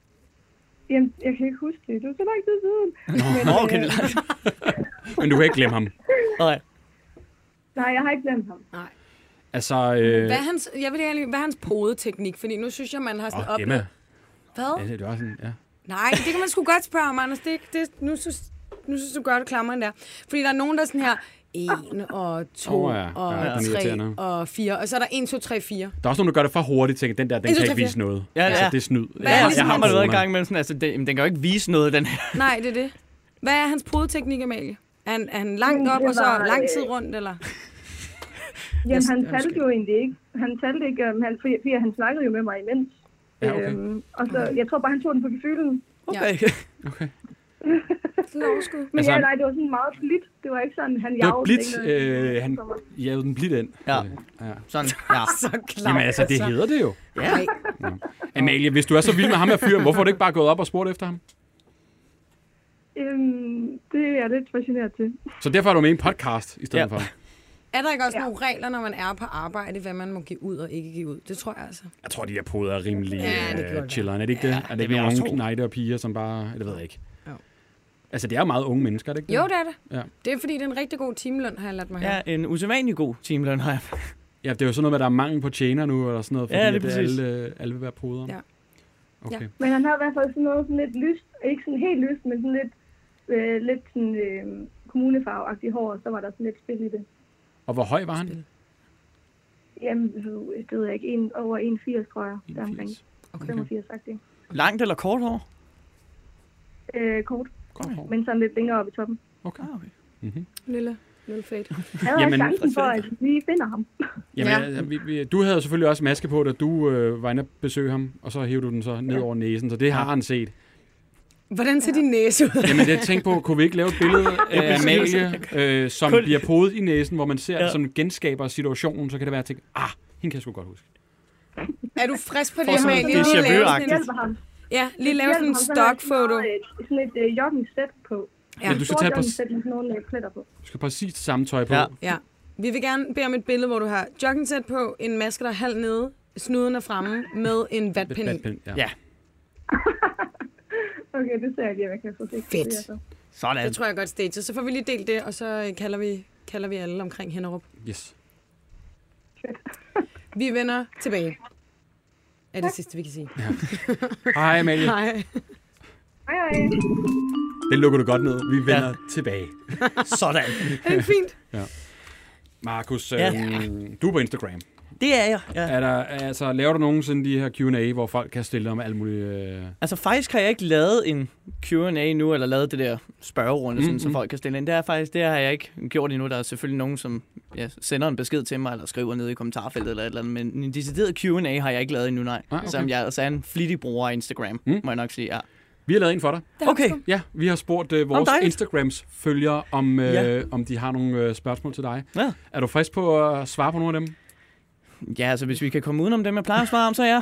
Speaker 6: Jamen, jeg kan ikke huske det. Det var så lang tid siden. Men,
Speaker 4: Nå, okay,
Speaker 6: øh,
Speaker 4: det er langt.
Speaker 2: Men du kan ikke glemme ham.
Speaker 4: Nej.
Speaker 6: nej, jeg har ikke glemt ham.
Speaker 2: Altså, øh,
Speaker 3: Hvad er hans, jeg vil egentlig, hvad er hans podeteknik? Fordi nu synes jeg, man har sådan
Speaker 2: åh,
Speaker 3: oh, op...
Speaker 2: Emma. Ja,
Speaker 3: Hvad?
Speaker 2: det var sådan, ja.
Speaker 3: Nej, det kan man sgu godt spørge om, Anders. Det, det, nu, synes, nu synes du godt, at klammeren der. Fordi der er nogen, der er sådan her... 1 og 2
Speaker 2: Åh,
Speaker 3: oh,
Speaker 2: ja.
Speaker 3: ja. og
Speaker 2: Ja, den er
Speaker 3: 3
Speaker 2: irriterende.
Speaker 3: og 4. Og så er der 1, 2, 3, 4.
Speaker 2: Der er også nogen, der gør det for hurtigt, tænker, den der, den
Speaker 3: En, to,
Speaker 2: kan
Speaker 3: tre,
Speaker 2: ikke
Speaker 3: fire.
Speaker 2: vise noget.
Speaker 4: Ja,
Speaker 2: altså,
Speaker 4: ja.
Speaker 2: det er snyd.
Speaker 3: er
Speaker 4: Ja,
Speaker 2: jeg,
Speaker 3: ligesom
Speaker 4: jeg har
Speaker 3: en
Speaker 4: man været i
Speaker 2: corona.
Speaker 4: gang imellem sådan, altså, det, jamen, den kan jo ikke vise noget, den her.
Speaker 3: Nej, det er det. Hvad er hans podeteknik, Amalie? Er han, er han langt
Speaker 6: Det
Speaker 3: op og så
Speaker 6: var,
Speaker 3: lang tid
Speaker 6: øh,
Speaker 3: rundt, eller?
Speaker 6: Jamen, han talte jo egentlig ikke. Han talte ikke, øhm, han, fordi fordi han snakkede jo med mig imens.
Speaker 2: Ja, okay.
Speaker 6: Øhm, og så, jeg tror bare, han tog den på gefylen.
Speaker 4: Okay.
Speaker 2: Okay.
Speaker 3: Sådan et overskud.
Speaker 6: Men
Speaker 2: Altså,
Speaker 6: altså, ja,
Speaker 2: han-
Speaker 6: nej, det var sådan meget blidt. Det var ikke sådan, han
Speaker 2: Det var
Speaker 6: jagede.
Speaker 2: blidt.
Speaker 6: ikke noget.
Speaker 2: Øh, han jævede den blidt ind.
Speaker 4: Ja.
Speaker 2: Øh, ja.
Speaker 4: Sådan, ja.
Speaker 3: Så klart.
Speaker 2: Jamen altså, det hedder det jo.
Speaker 3: Ja. Nej,
Speaker 2: Amalie, hvis du er så vild med ham her fyren, hvorfor har du ikke bare gået op og spurgt efter ham?
Speaker 6: Øhm, det er jeg lidt fascineret til.
Speaker 2: Så derfor er du med i en podcast i stedet
Speaker 4: Ja.
Speaker 2: ja. for.
Speaker 3: Er der ikke også ja. nogle regler, når man er på arbejde, hvad man må give ud og ikke give ud? Det tror jeg altså.
Speaker 2: Jeg tror, de der poder er rimelig
Speaker 3: Ja, det kan
Speaker 2: ja,
Speaker 3: godt
Speaker 2: chilleren. Er det ikke det? Er det,
Speaker 4: det
Speaker 2: ikke
Speaker 4: vil jeg også
Speaker 2: nogle
Speaker 4: tro.
Speaker 2: knejder og piger, som bare... Det ved jeg ikke.
Speaker 3: Jo.
Speaker 2: Altså, det er jo meget unge mennesker, er det ikke det?
Speaker 3: Jo, det er det.
Speaker 2: Ja.
Speaker 3: Det er fordi, det er en rigtig god timeløn, har jeg ladt mig
Speaker 4: Ja,
Speaker 3: høre.
Speaker 4: en usædvanlig god timeløn har jeg.
Speaker 2: Ja, det er jo sådan noget med, at der er mangel på tjener nu, eller sådan noget, fordi
Speaker 4: Ja,
Speaker 2: ja,
Speaker 4: lige
Speaker 2: det
Speaker 4: præcis.
Speaker 2: alle, øh, alle vil være poder.
Speaker 3: Ja.
Speaker 2: Okay.
Speaker 3: Ja.
Speaker 6: Men han har i hvert fald sådan noget sådan lidt lyst. Ikke sådan helt lyst, men sådan lidt, øh, lidt sådan, øh, kommunefarveagtigt hår. Og så var der sådan lidt spil i det.
Speaker 2: Og hvor høj var han?
Speaker 6: Jamen, det ved jeg ikke. En, over 1,80 tror jeg. Der omkring
Speaker 2: 80.
Speaker 6: 85 faktisk.
Speaker 4: Langt eller kort hår?
Speaker 6: Øh, kort,
Speaker 2: Godt hår.
Speaker 6: men sådan lidt længere oppe i toppen.
Speaker 2: Okay.
Speaker 4: Ah, okay.
Speaker 3: Lille, lille fade.
Speaker 6: Han har
Speaker 2: Jamen,
Speaker 6: chancen for, at vi finder ham.
Speaker 2: Jamen,
Speaker 3: Ja.
Speaker 2: ja. vi, vi, du havde jo selvfølgelig også maske på, da du øh, var inde og besøge ham, og så hævde du den så ned over næsen, så det har han set.
Speaker 3: Hvordan ser din næse ud?
Speaker 2: Jamen, jeg tænkte på, kunne vi ikke lave et billede af
Speaker 4: præcis.
Speaker 2: Amalie, øh, som
Speaker 4: Kun-
Speaker 2: bliver podet i næsen, hvor man ser, ja.
Speaker 4: Ja.
Speaker 2: som genskaber situationen, så kan det være, at jeg tænker, ah, hende kan jeg sgu godt huske.
Speaker 3: Er du frisk på det,
Speaker 4: Får sådan
Speaker 3: Amalie?
Speaker 4: déjà
Speaker 3: Lige lave
Speaker 4: vu-agtigt.
Speaker 6: Det
Speaker 3: sådan en-
Speaker 6: hjælper ham.
Speaker 3: Ja, lige lave sådan
Speaker 6: Hjælper ham,
Speaker 3: en
Speaker 6: så han har Sådan,
Speaker 3: stockfoto.
Speaker 6: noget, øh, sådan et øh, jogging-sæt på.
Speaker 2: Ja. Men du skal
Speaker 6: Stort
Speaker 2: tage på,
Speaker 6: jogging-sæt med sådan nogle øh, pletter på.
Speaker 2: du skal præcis det samme tøj på. Ja.
Speaker 4: Ja.
Speaker 3: Ja. Vi vil gerne bede om et billede, hvor du har joggingsæt på, en maske, der er halvt nede, snuden er fremme med en vatpind i.
Speaker 2: Batpind, ja.
Speaker 4: Ja.
Speaker 6: Okay, det ser jeg lige, om jeg kan få det.
Speaker 3: Fedt.
Speaker 4: Sådan.
Speaker 3: Det tror jeg godt stage. Så får vi lige delt det, og så øh, kalder vi, kalder vi alle omkring Hennerup.
Speaker 2: Yes.
Speaker 3: Vi vender tilbage. Er det sidste, vi kan sige.
Speaker 2: Hej Amalie,
Speaker 3: Nej.
Speaker 6: Hej, hej.
Speaker 2: det lukker du godt ned. Vi vender ja. tilbage.
Speaker 4: Sådan.
Speaker 3: Er det fint?
Speaker 2: Markus, øh,
Speaker 4: Ja.
Speaker 2: du er på Instagram.
Speaker 4: Det er jeg. Ja.
Speaker 2: Er der, altså, laver du nogensinde de her Q&A, hvor folk kan stille dig om alt muligt? Øh...
Speaker 4: Altså faktisk har jeg ikke lavet en Q&A nu, eller lavet det der spørgerunde, sådan,
Speaker 2: Mm-hmm.
Speaker 4: så folk kan stille ind. Det, er faktisk, det har jeg ikke gjort endnu. Der er selvfølgelig nogen, som ja, sender en besked til mig, eller skriver ned i kommentarfeltet eller et eller andet, men en decideret Q&A har jeg ikke lavet endnu, nej.
Speaker 2: Ah, okay.
Speaker 4: Som jeg altså er en flittig bruger af Instagram,
Speaker 2: Mm.
Speaker 4: må jeg nok sige. Ja.
Speaker 2: Vi har lavet en for dig.
Speaker 4: Okay,
Speaker 2: Ja, vi har spurgt øh, vores
Speaker 4: dejligt.
Speaker 2: Instagrams følgere, om, øh, ja.
Speaker 4: Ja.
Speaker 2: om de har nogle øh, spørgsmål til dig.
Speaker 4: Ja.
Speaker 2: Er du frisk på at svare på nogle af dem?
Speaker 4: ja, altså hvis vi kan komme udenom dem, jeg plejer at svare om, så ja.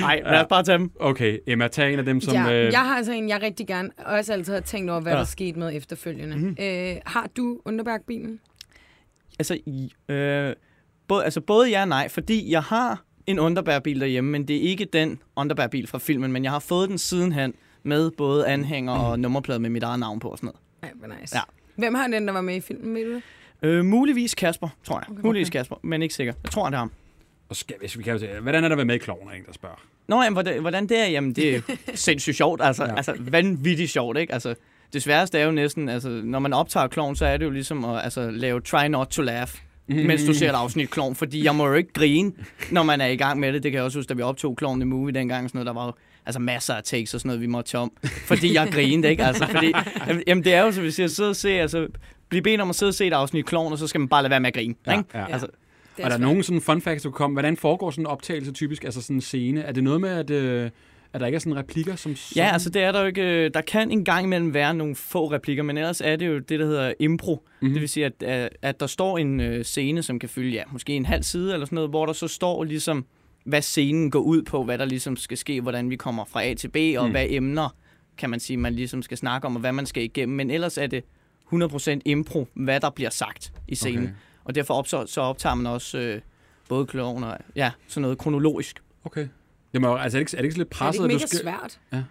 Speaker 4: Nej, lad os bare tage dem.
Speaker 2: Okay, Emma, tag en af dem, som...
Speaker 3: ja,
Speaker 2: øh,
Speaker 3: jeg har altså en, jeg rigtig gerne også altid har tænkt over, hvad ja.
Speaker 4: Ja.
Speaker 3: der skete med efterfølgende. Mm-hmm. Øh, har du Underberg-bilen?
Speaker 4: Altså, i- øh, både, altså både ja og nej, fordi jeg har en underbærbil derhjemme, men det er ikke den underbærbil fra filmen, men jeg har fået den sidenhen med både anhænger og nummerplade med mit eget navn på og sådan
Speaker 3: Nej, hvor nice.
Speaker 4: Ja.
Speaker 3: Hvem har den, der var med i filmen, ved du? det?
Speaker 4: noget. Øh, muligvis Kasper, tror jeg. Okay, muligvis Kasper, men ikke sikker. Jeg tror, det er ham.
Speaker 2: Og skal, hvis vi kan, jo se- hvordan er der været med i Kloven, er en, der spørger.
Speaker 4: Nå, jamen, hvordan, hvordan det er, jamen det er sindssygt sjovt, altså, ja. altså vanvittigt sjovt, ikke? Altså, det sværeste er jo næsten, altså, når man optager klovn, så er det jo ligesom at altså, lave try not to laugh,
Speaker 2: Mhm.
Speaker 4: mens du ser et afsnit klovn, fordi jeg må jo ikke grine, når man er i gang med det. Det kan jeg også huske, da vi optog klovn i movie dengang, og sådan noget, der var jo altså, masser af takes og sådan noget, vi måtte tage om, fordi jeg grinede, ikke? Altså, fordi, jamen, jamen, det er jo, så hvis jeg sidder og ser, altså, blive bedt om at sidde og se et afsnit klovn, og så skal man bare lade være med at grine,
Speaker 2: Ja,
Speaker 4: ikke?
Speaker 2: ja.
Speaker 4: Altså,
Speaker 3: Det
Speaker 2: Og er der
Speaker 3: svært.
Speaker 2: nogen sådan fun facts, du kan komme? Hvordan foregår sådan en optagelse typisk, altså sådan en scene? Er det noget med, at, øh, at der ikke er sådan replikker, som...
Speaker 4: Ja,
Speaker 2: sådan-
Speaker 4: altså det er der jo ikke. øh, Der kan engang imellem være nogle få replikker, men ellers er det jo det, der hedder impro.
Speaker 2: Mhm.
Speaker 4: Mm-hmm. Det vil sige, at, at, at der står en øh, scene, som kan fylde ja, måske en halv side eller sådan noget, hvor der så står ligesom, hvad scenen går ud på, hvad der ligesom skal ske, hvordan vi kommer fra A til B, og
Speaker 2: Mhm.
Speaker 4: mm. hvad emner, kan man sige, man ligesom skal snakke om, og hvad man skal igennem. Men ellers er det 100% impro, hvad der bliver sagt i scenen.
Speaker 2: Okay.
Speaker 4: Okay. Og derfor op, så, så optager man også øh, både kloven og ja, sådan noget kronologisk.
Speaker 2: Okay. Jamen, altså, er det ikke, er det ikke sådan lidt
Speaker 3: Er det
Speaker 2: presset,
Speaker 3: ikke mega
Speaker 2: at du skal...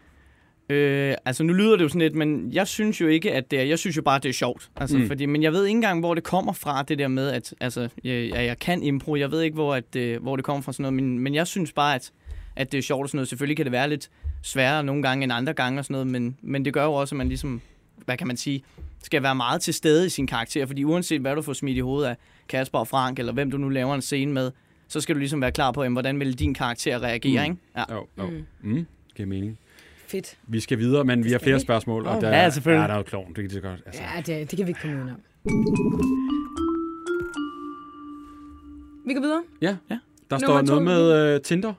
Speaker 3: svært?
Speaker 4: Øh, altså nu lyder det jo sådan lidt, men jeg synes jo ikke, at det er, jeg synes jo bare, at det er sjovt. Altså,
Speaker 2: Mm.
Speaker 4: mm. fordi, men jeg ved ikke engang, hvor det kommer fra, det der med, at altså, jeg, jeg, jeg kan impro, jeg ved ikke, hvor, at, øh, hvor det kommer fra sådan noget, men, men jeg synes bare, at, at det er sjovt og sådan noget. Selvfølgelig kan det være lidt sværere nogle gange end andre gange og sådan noget, men, men det gør jo også, at man ligesom, hvad kan man sige, skal være meget til stede i sin karakter, fordi uanset hvad du får smidt i hovedet af Kasper og Frank, eller hvem du nu laver en scene med, så skal du ligesom være klar på, jamen, hvordan vil din karakter reagere,
Speaker 2: Mm.
Speaker 4: ikke? Ja.
Speaker 2: Jo, jo. Mm. Giver mening.
Speaker 3: Fedt.
Speaker 2: Vi skal videre, men vi har
Speaker 3: skal
Speaker 2: flere
Speaker 3: vi.
Speaker 2: spørgsmål. Og
Speaker 3: Åh,
Speaker 2: der,
Speaker 4: ja, selvfølgelig.
Speaker 2: Ja, der er jo klovn, det kan det godt. Altså.
Speaker 3: Ja, det, det kan vi ikke komme udenom. Vi går videre.
Speaker 2: Ja,
Speaker 4: Ja.
Speaker 2: der
Speaker 3: Nummer
Speaker 2: står noget
Speaker 3: to.
Speaker 2: med uh, Tinder.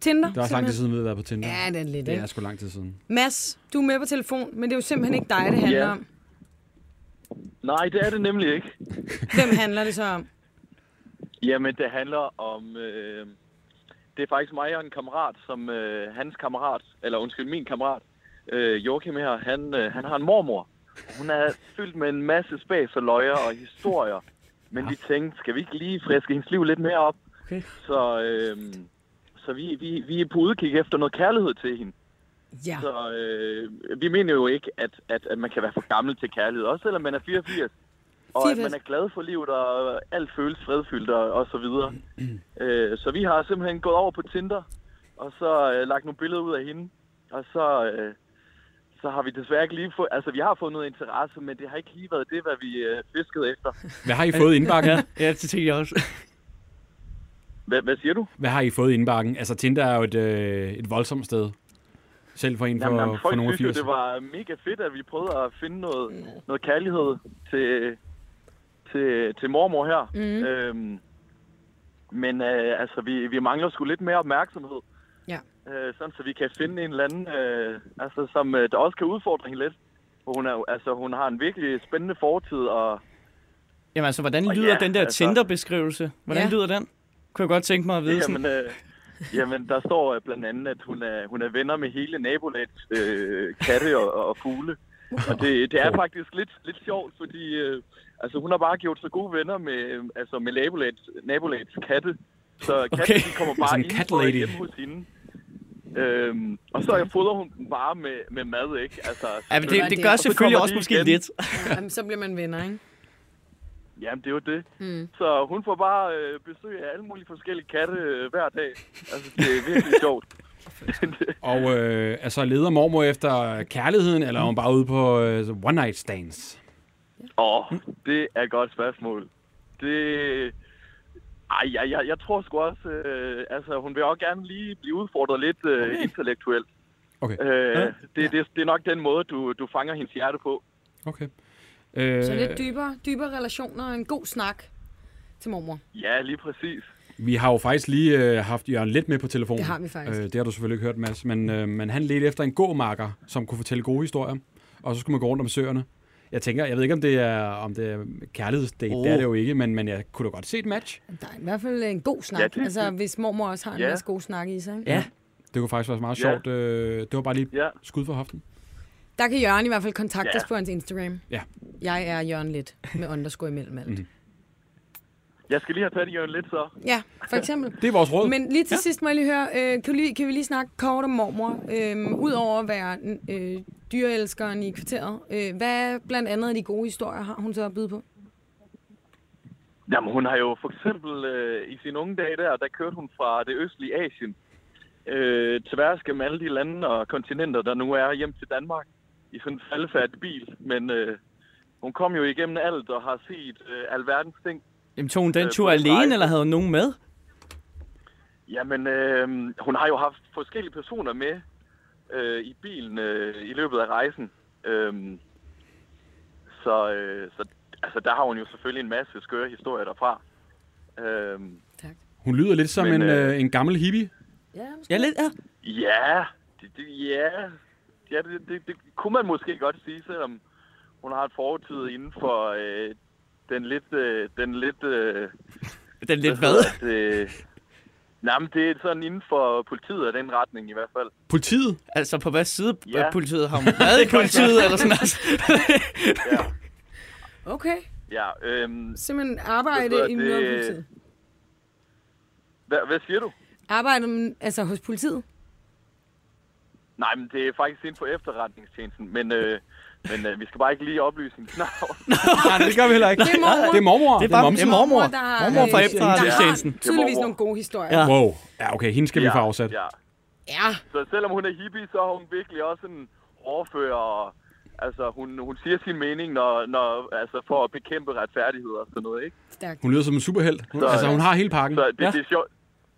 Speaker 3: Tinder.
Speaker 2: Der er lang tid
Speaker 3: simpelthen.
Speaker 2: siden, vi har været på Tinder.
Speaker 3: Ja, det er lidt,
Speaker 2: det er
Speaker 3: ikke?
Speaker 2: sgu lang tid siden.
Speaker 3: Mads, du er med på telefon, men det er jo simpelthen ikke dig, det handler
Speaker 7: Ja.
Speaker 3: om.
Speaker 7: Nej, det er det nemlig ikke.
Speaker 3: Hvem handler det så om?
Speaker 7: Jamen, det handler om... Øh, det er faktisk mig og en kammerat, som øh, hans kammerat, eller undskyld, min kammerat, øh, Joachim her, han, øh, han har en mormor. Hun er fyldt med en masse spas og løjer og historier. Men vi tænkte, skal vi ikke lige friske hendes liv lidt mere op?
Speaker 4: Okay.
Speaker 7: Så, øh, så vi, vi, vi er på udkig efter noget kærlighed til hende.
Speaker 3: Ja.
Speaker 7: Så øh, vi mener jo ikke, at, at, at man kan være for gammel til kærlighed, også selvom man er 84. Og at
Speaker 3: 84.
Speaker 7: man er glad for livet, og alt føles fredfyldt og, og så videre. øh, så vi har simpelthen gået over på Tinder, og så øh, lagt nogle billeder ud af hende. Og så, øh, så har vi desværre ikke lige fået... Altså, vi har fået noget interesse, men det har ikke lige været det, hvad vi øh, fiskede efter.
Speaker 2: Hvad har I fået i indbakken?
Speaker 4: Ja, ja, det tænkte jeg også.
Speaker 7: Hvad, hvad siger du?
Speaker 2: Hvad har I fået i indbakken? Altså, Tinder er jo et, øh, et voldsomt sted. Selv for en for,
Speaker 7: Jamen, jamen,
Speaker 2: for
Speaker 7: folk
Speaker 2: nogle af
Speaker 7: synes jo,
Speaker 2: 80.
Speaker 7: det var mega fedt, at vi prøvede at finde noget, noget kærlighed til, til, til mormor her. Mm. Øhm, men øh, altså, vi, vi mangler sgu lidt mere opmærksomhed.
Speaker 3: Ja.
Speaker 7: Øh, sådan, så vi kan finde en eller anden, øh, altså, som øh, der også kan udfordre hende lidt. For Hun, er, jo- altså, hun har en virkelig spændende fortid, og
Speaker 4: Jamen altså, hvordan
Speaker 7: Og
Speaker 4: lyder
Speaker 7: ja,
Speaker 4: den der
Speaker 7: altså-
Speaker 4: Tinder-beskrivelse? Hvordan
Speaker 3: Ja.
Speaker 4: lyder den? Kunne jeg godt tænke mig at vide. Sådan.
Speaker 7: jamen, øh, jamen, der står øh, blandt andet, at hun er, hun er venner med hele nabolagets øh, katte og, og fugle. Og det, det er faktisk lidt, lidt sjovt, fordi øh, altså, hun har bare gjort så gode venner med, øh, altså, med nabolagets, nabolagets katte. Så katten
Speaker 4: Okay. Altså
Speaker 7: de kommer bare
Speaker 2: Sådan en
Speaker 7: ind
Speaker 2: cat
Speaker 7: på
Speaker 2: lady.
Speaker 7: hjemme hos hende. Øhm, og så fodrer hun dem bare med, med mad, ikke? Altså,
Speaker 4: Ja, men
Speaker 3: Det var
Speaker 4: det,
Speaker 3: det.
Speaker 4: det gør
Speaker 3: Og
Speaker 7: så
Speaker 4: selvfølgelig
Speaker 7: kommer
Speaker 4: også
Speaker 7: de
Speaker 4: måske
Speaker 7: igen.
Speaker 4: lidt.
Speaker 3: Jamen, så bliver man venner, ikke?
Speaker 7: Jamen, det er jo det. Mm. Så hun får bare øh, besøg af alle mulige forskellige katte øh, hver dag. Altså, det er virkelig sjovt.
Speaker 2: Og øh, altså, leder mormor efter kærligheden, eller er hun bare ude på øh, one night stands?
Speaker 7: Åh, oh, det er et godt spørgsmål. Det... Ej, jeg, jeg, jeg tror sgu også, øh, altså hun vil også gerne lige blive udfordret lidt øh, okay. intellektuelt.
Speaker 2: Okay,
Speaker 7: Øh,
Speaker 2: Ja.
Speaker 7: ja. det, det, det er nok den måde, du, du fanger hendes hjerte på.
Speaker 2: okay. Øh,
Speaker 3: Så lidt dybere, dybere relationer og en god snak til mormor.
Speaker 7: Ja, lige præcis.
Speaker 2: Vi har jo faktisk lige øh, haft Jørgen lidt med på telefonen.
Speaker 3: Det har vi faktisk.
Speaker 2: Øh, det har du selvfølgelig ikke hørt, Mads. Men, øh, men han ledte efter en gåmarker, som kunne fortælle gode historier. Og så skulle man gå rundt om søerne. Jeg tænker, jeg ved ikke, om det er, om det er kærlighedsdate. Oh.
Speaker 4: Oh.
Speaker 2: Det er det jo ikke, men, men jeg kunne da godt se et match.
Speaker 3: Der er i hvert fald en god snak.
Speaker 7: Ja, det-
Speaker 3: altså, hvis mormor også har en
Speaker 7: Ja.
Speaker 3: masse gode snakke i sig. Ikke?
Speaker 4: Ja.
Speaker 2: Det kunne faktisk være meget
Speaker 7: Ja.
Speaker 2: sjovt. Øh, det var bare lige
Speaker 7: Ja.
Speaker 2: skud for hoften.
Speaker 3: Der kan Jørgen i hvert fald kontakte os
Speaker 7: Ja.
Speaker 3: på hans Instagram.
Speaker 2: Ja. Mhm.
Speaker 3: Jeg er Jørgen lidt med underscore imellem alt. Mm.
Speaker 7: Jeg skal lige have fat i Jørgen lidt så.
Speaker 3: Ja, for eksempel.
Speaker 2: Det er vores råd.
Speaker 3: Men lige til ja. sidst må jeg lige høre, øh, kan, vi lige, kan vi lige snakke kort om mormor? Øhm, Udover at være øh, dyreelskeren i kvarteret, øh, hvad blandt andet af de gode historier har hun så at byde på?
Speaker 7: Jamen, hun har jo for eksempel øh, i sine unge dage der, der kørte hun fra det østlige Asien øh, tværs gennem alle de lande og kontinenter, der nu er hjem til Danmark i sådan en faldfærdig bil. Men øh, hun kom jo igennem alt og har set øh, alverdens ting.
Speaker 4: Jamen, tog hun den
Speaker 7: Øh,
Speaker 4: tur
Speaker 7: på en
Speaker 4: alene,
Speaker 7: rejse.
Speaker 4: eller havde hun nogen med?
Speaker 7: Jamen, øh, hun har jo haft forskellige personer med øh, i bilen øh, i løbet af rejsen. Øh, så øh, så altså, der har hun jo selvfølgelig en masse skøre historier derfra. Øh,
Speaker 3: Tak.
Speaker 2: Hun lyder lidt som en,
Speaker 7: Men, øh,
Speaker 2: øh, en gammel hippie.
Speaker 3: Ja,
Speaker 4: Ja, lidt, ja.
Speaker 7: Ja, det, det, ja. ja det, det, det kunne man måske godt sige, selvom hun har et fortid inden for øh, den lidt... Øh, den lidt øh,
Speaker 4: Den lidt hvad?
Speaker 7: hedder det? Nej, men det er sådan inden for politiet af den retning i hvert fald.
Speaker 2: Politiet?
Speaker 4: Altså, på hvad side
Speaker 7: Ja.
Speaker 4: af politiet har hun været i politiet, eller sådan altså.
Speaker 3: Okay,
Speaker 7: Ja, øhm,
Speaker 3: simpelthen
Speaker 7: Hvad hedder
Speaker 3: arbejde i
Speaker 7: det?
Speaker 3: politiet.
Speaker 7: hvad, hvad siger du?
Speaker 3: Arbejde mm, altså hos politiet?
Speaker 7: Nej, men det er faktisk inden for efterretningstjenesten, men, øh, men øh, vi skal bare ikke lige oplyse hendes navn.
Speaker 2: Nej, det gør vi heller ikke.
Speaker 3: Det er mormor.
Speaker 2: Det er mormor.
Speaker 4: Det er bare-
Speaker 2: momsen.
Speaker 4: det er mormor.
Speaker 3: der har,
Speaker 4: Mormor fra
Speaker 3: øh,
Speaker 4: efterretningstjenesten.
Speaker 3: Der har tydeligvis nogle gode historier.
Speaker 4: Ja.
Speaker 3: Ja.
Speaker 2: Wow. Ja, okay, hende skal vi få afsat.
Speaker 7: Ja.
Speaker 3: ja.
Speaker 7: Så selvom hun er hippie, så har hun virkelig også en overfører. og- Altså, hun, hun siger sin mening når, når, altså, for at bekæmpe retfærdighed og sådan noget, ikke?
Speaker 3: Stærkt.
Speaker 2: Hun lyder som en superhelt. Hun, altså, hun har hele pakken.
Speaker 7: Så det,
Speaker 4: Ja.
Speaker 7: ja. det, er sjov,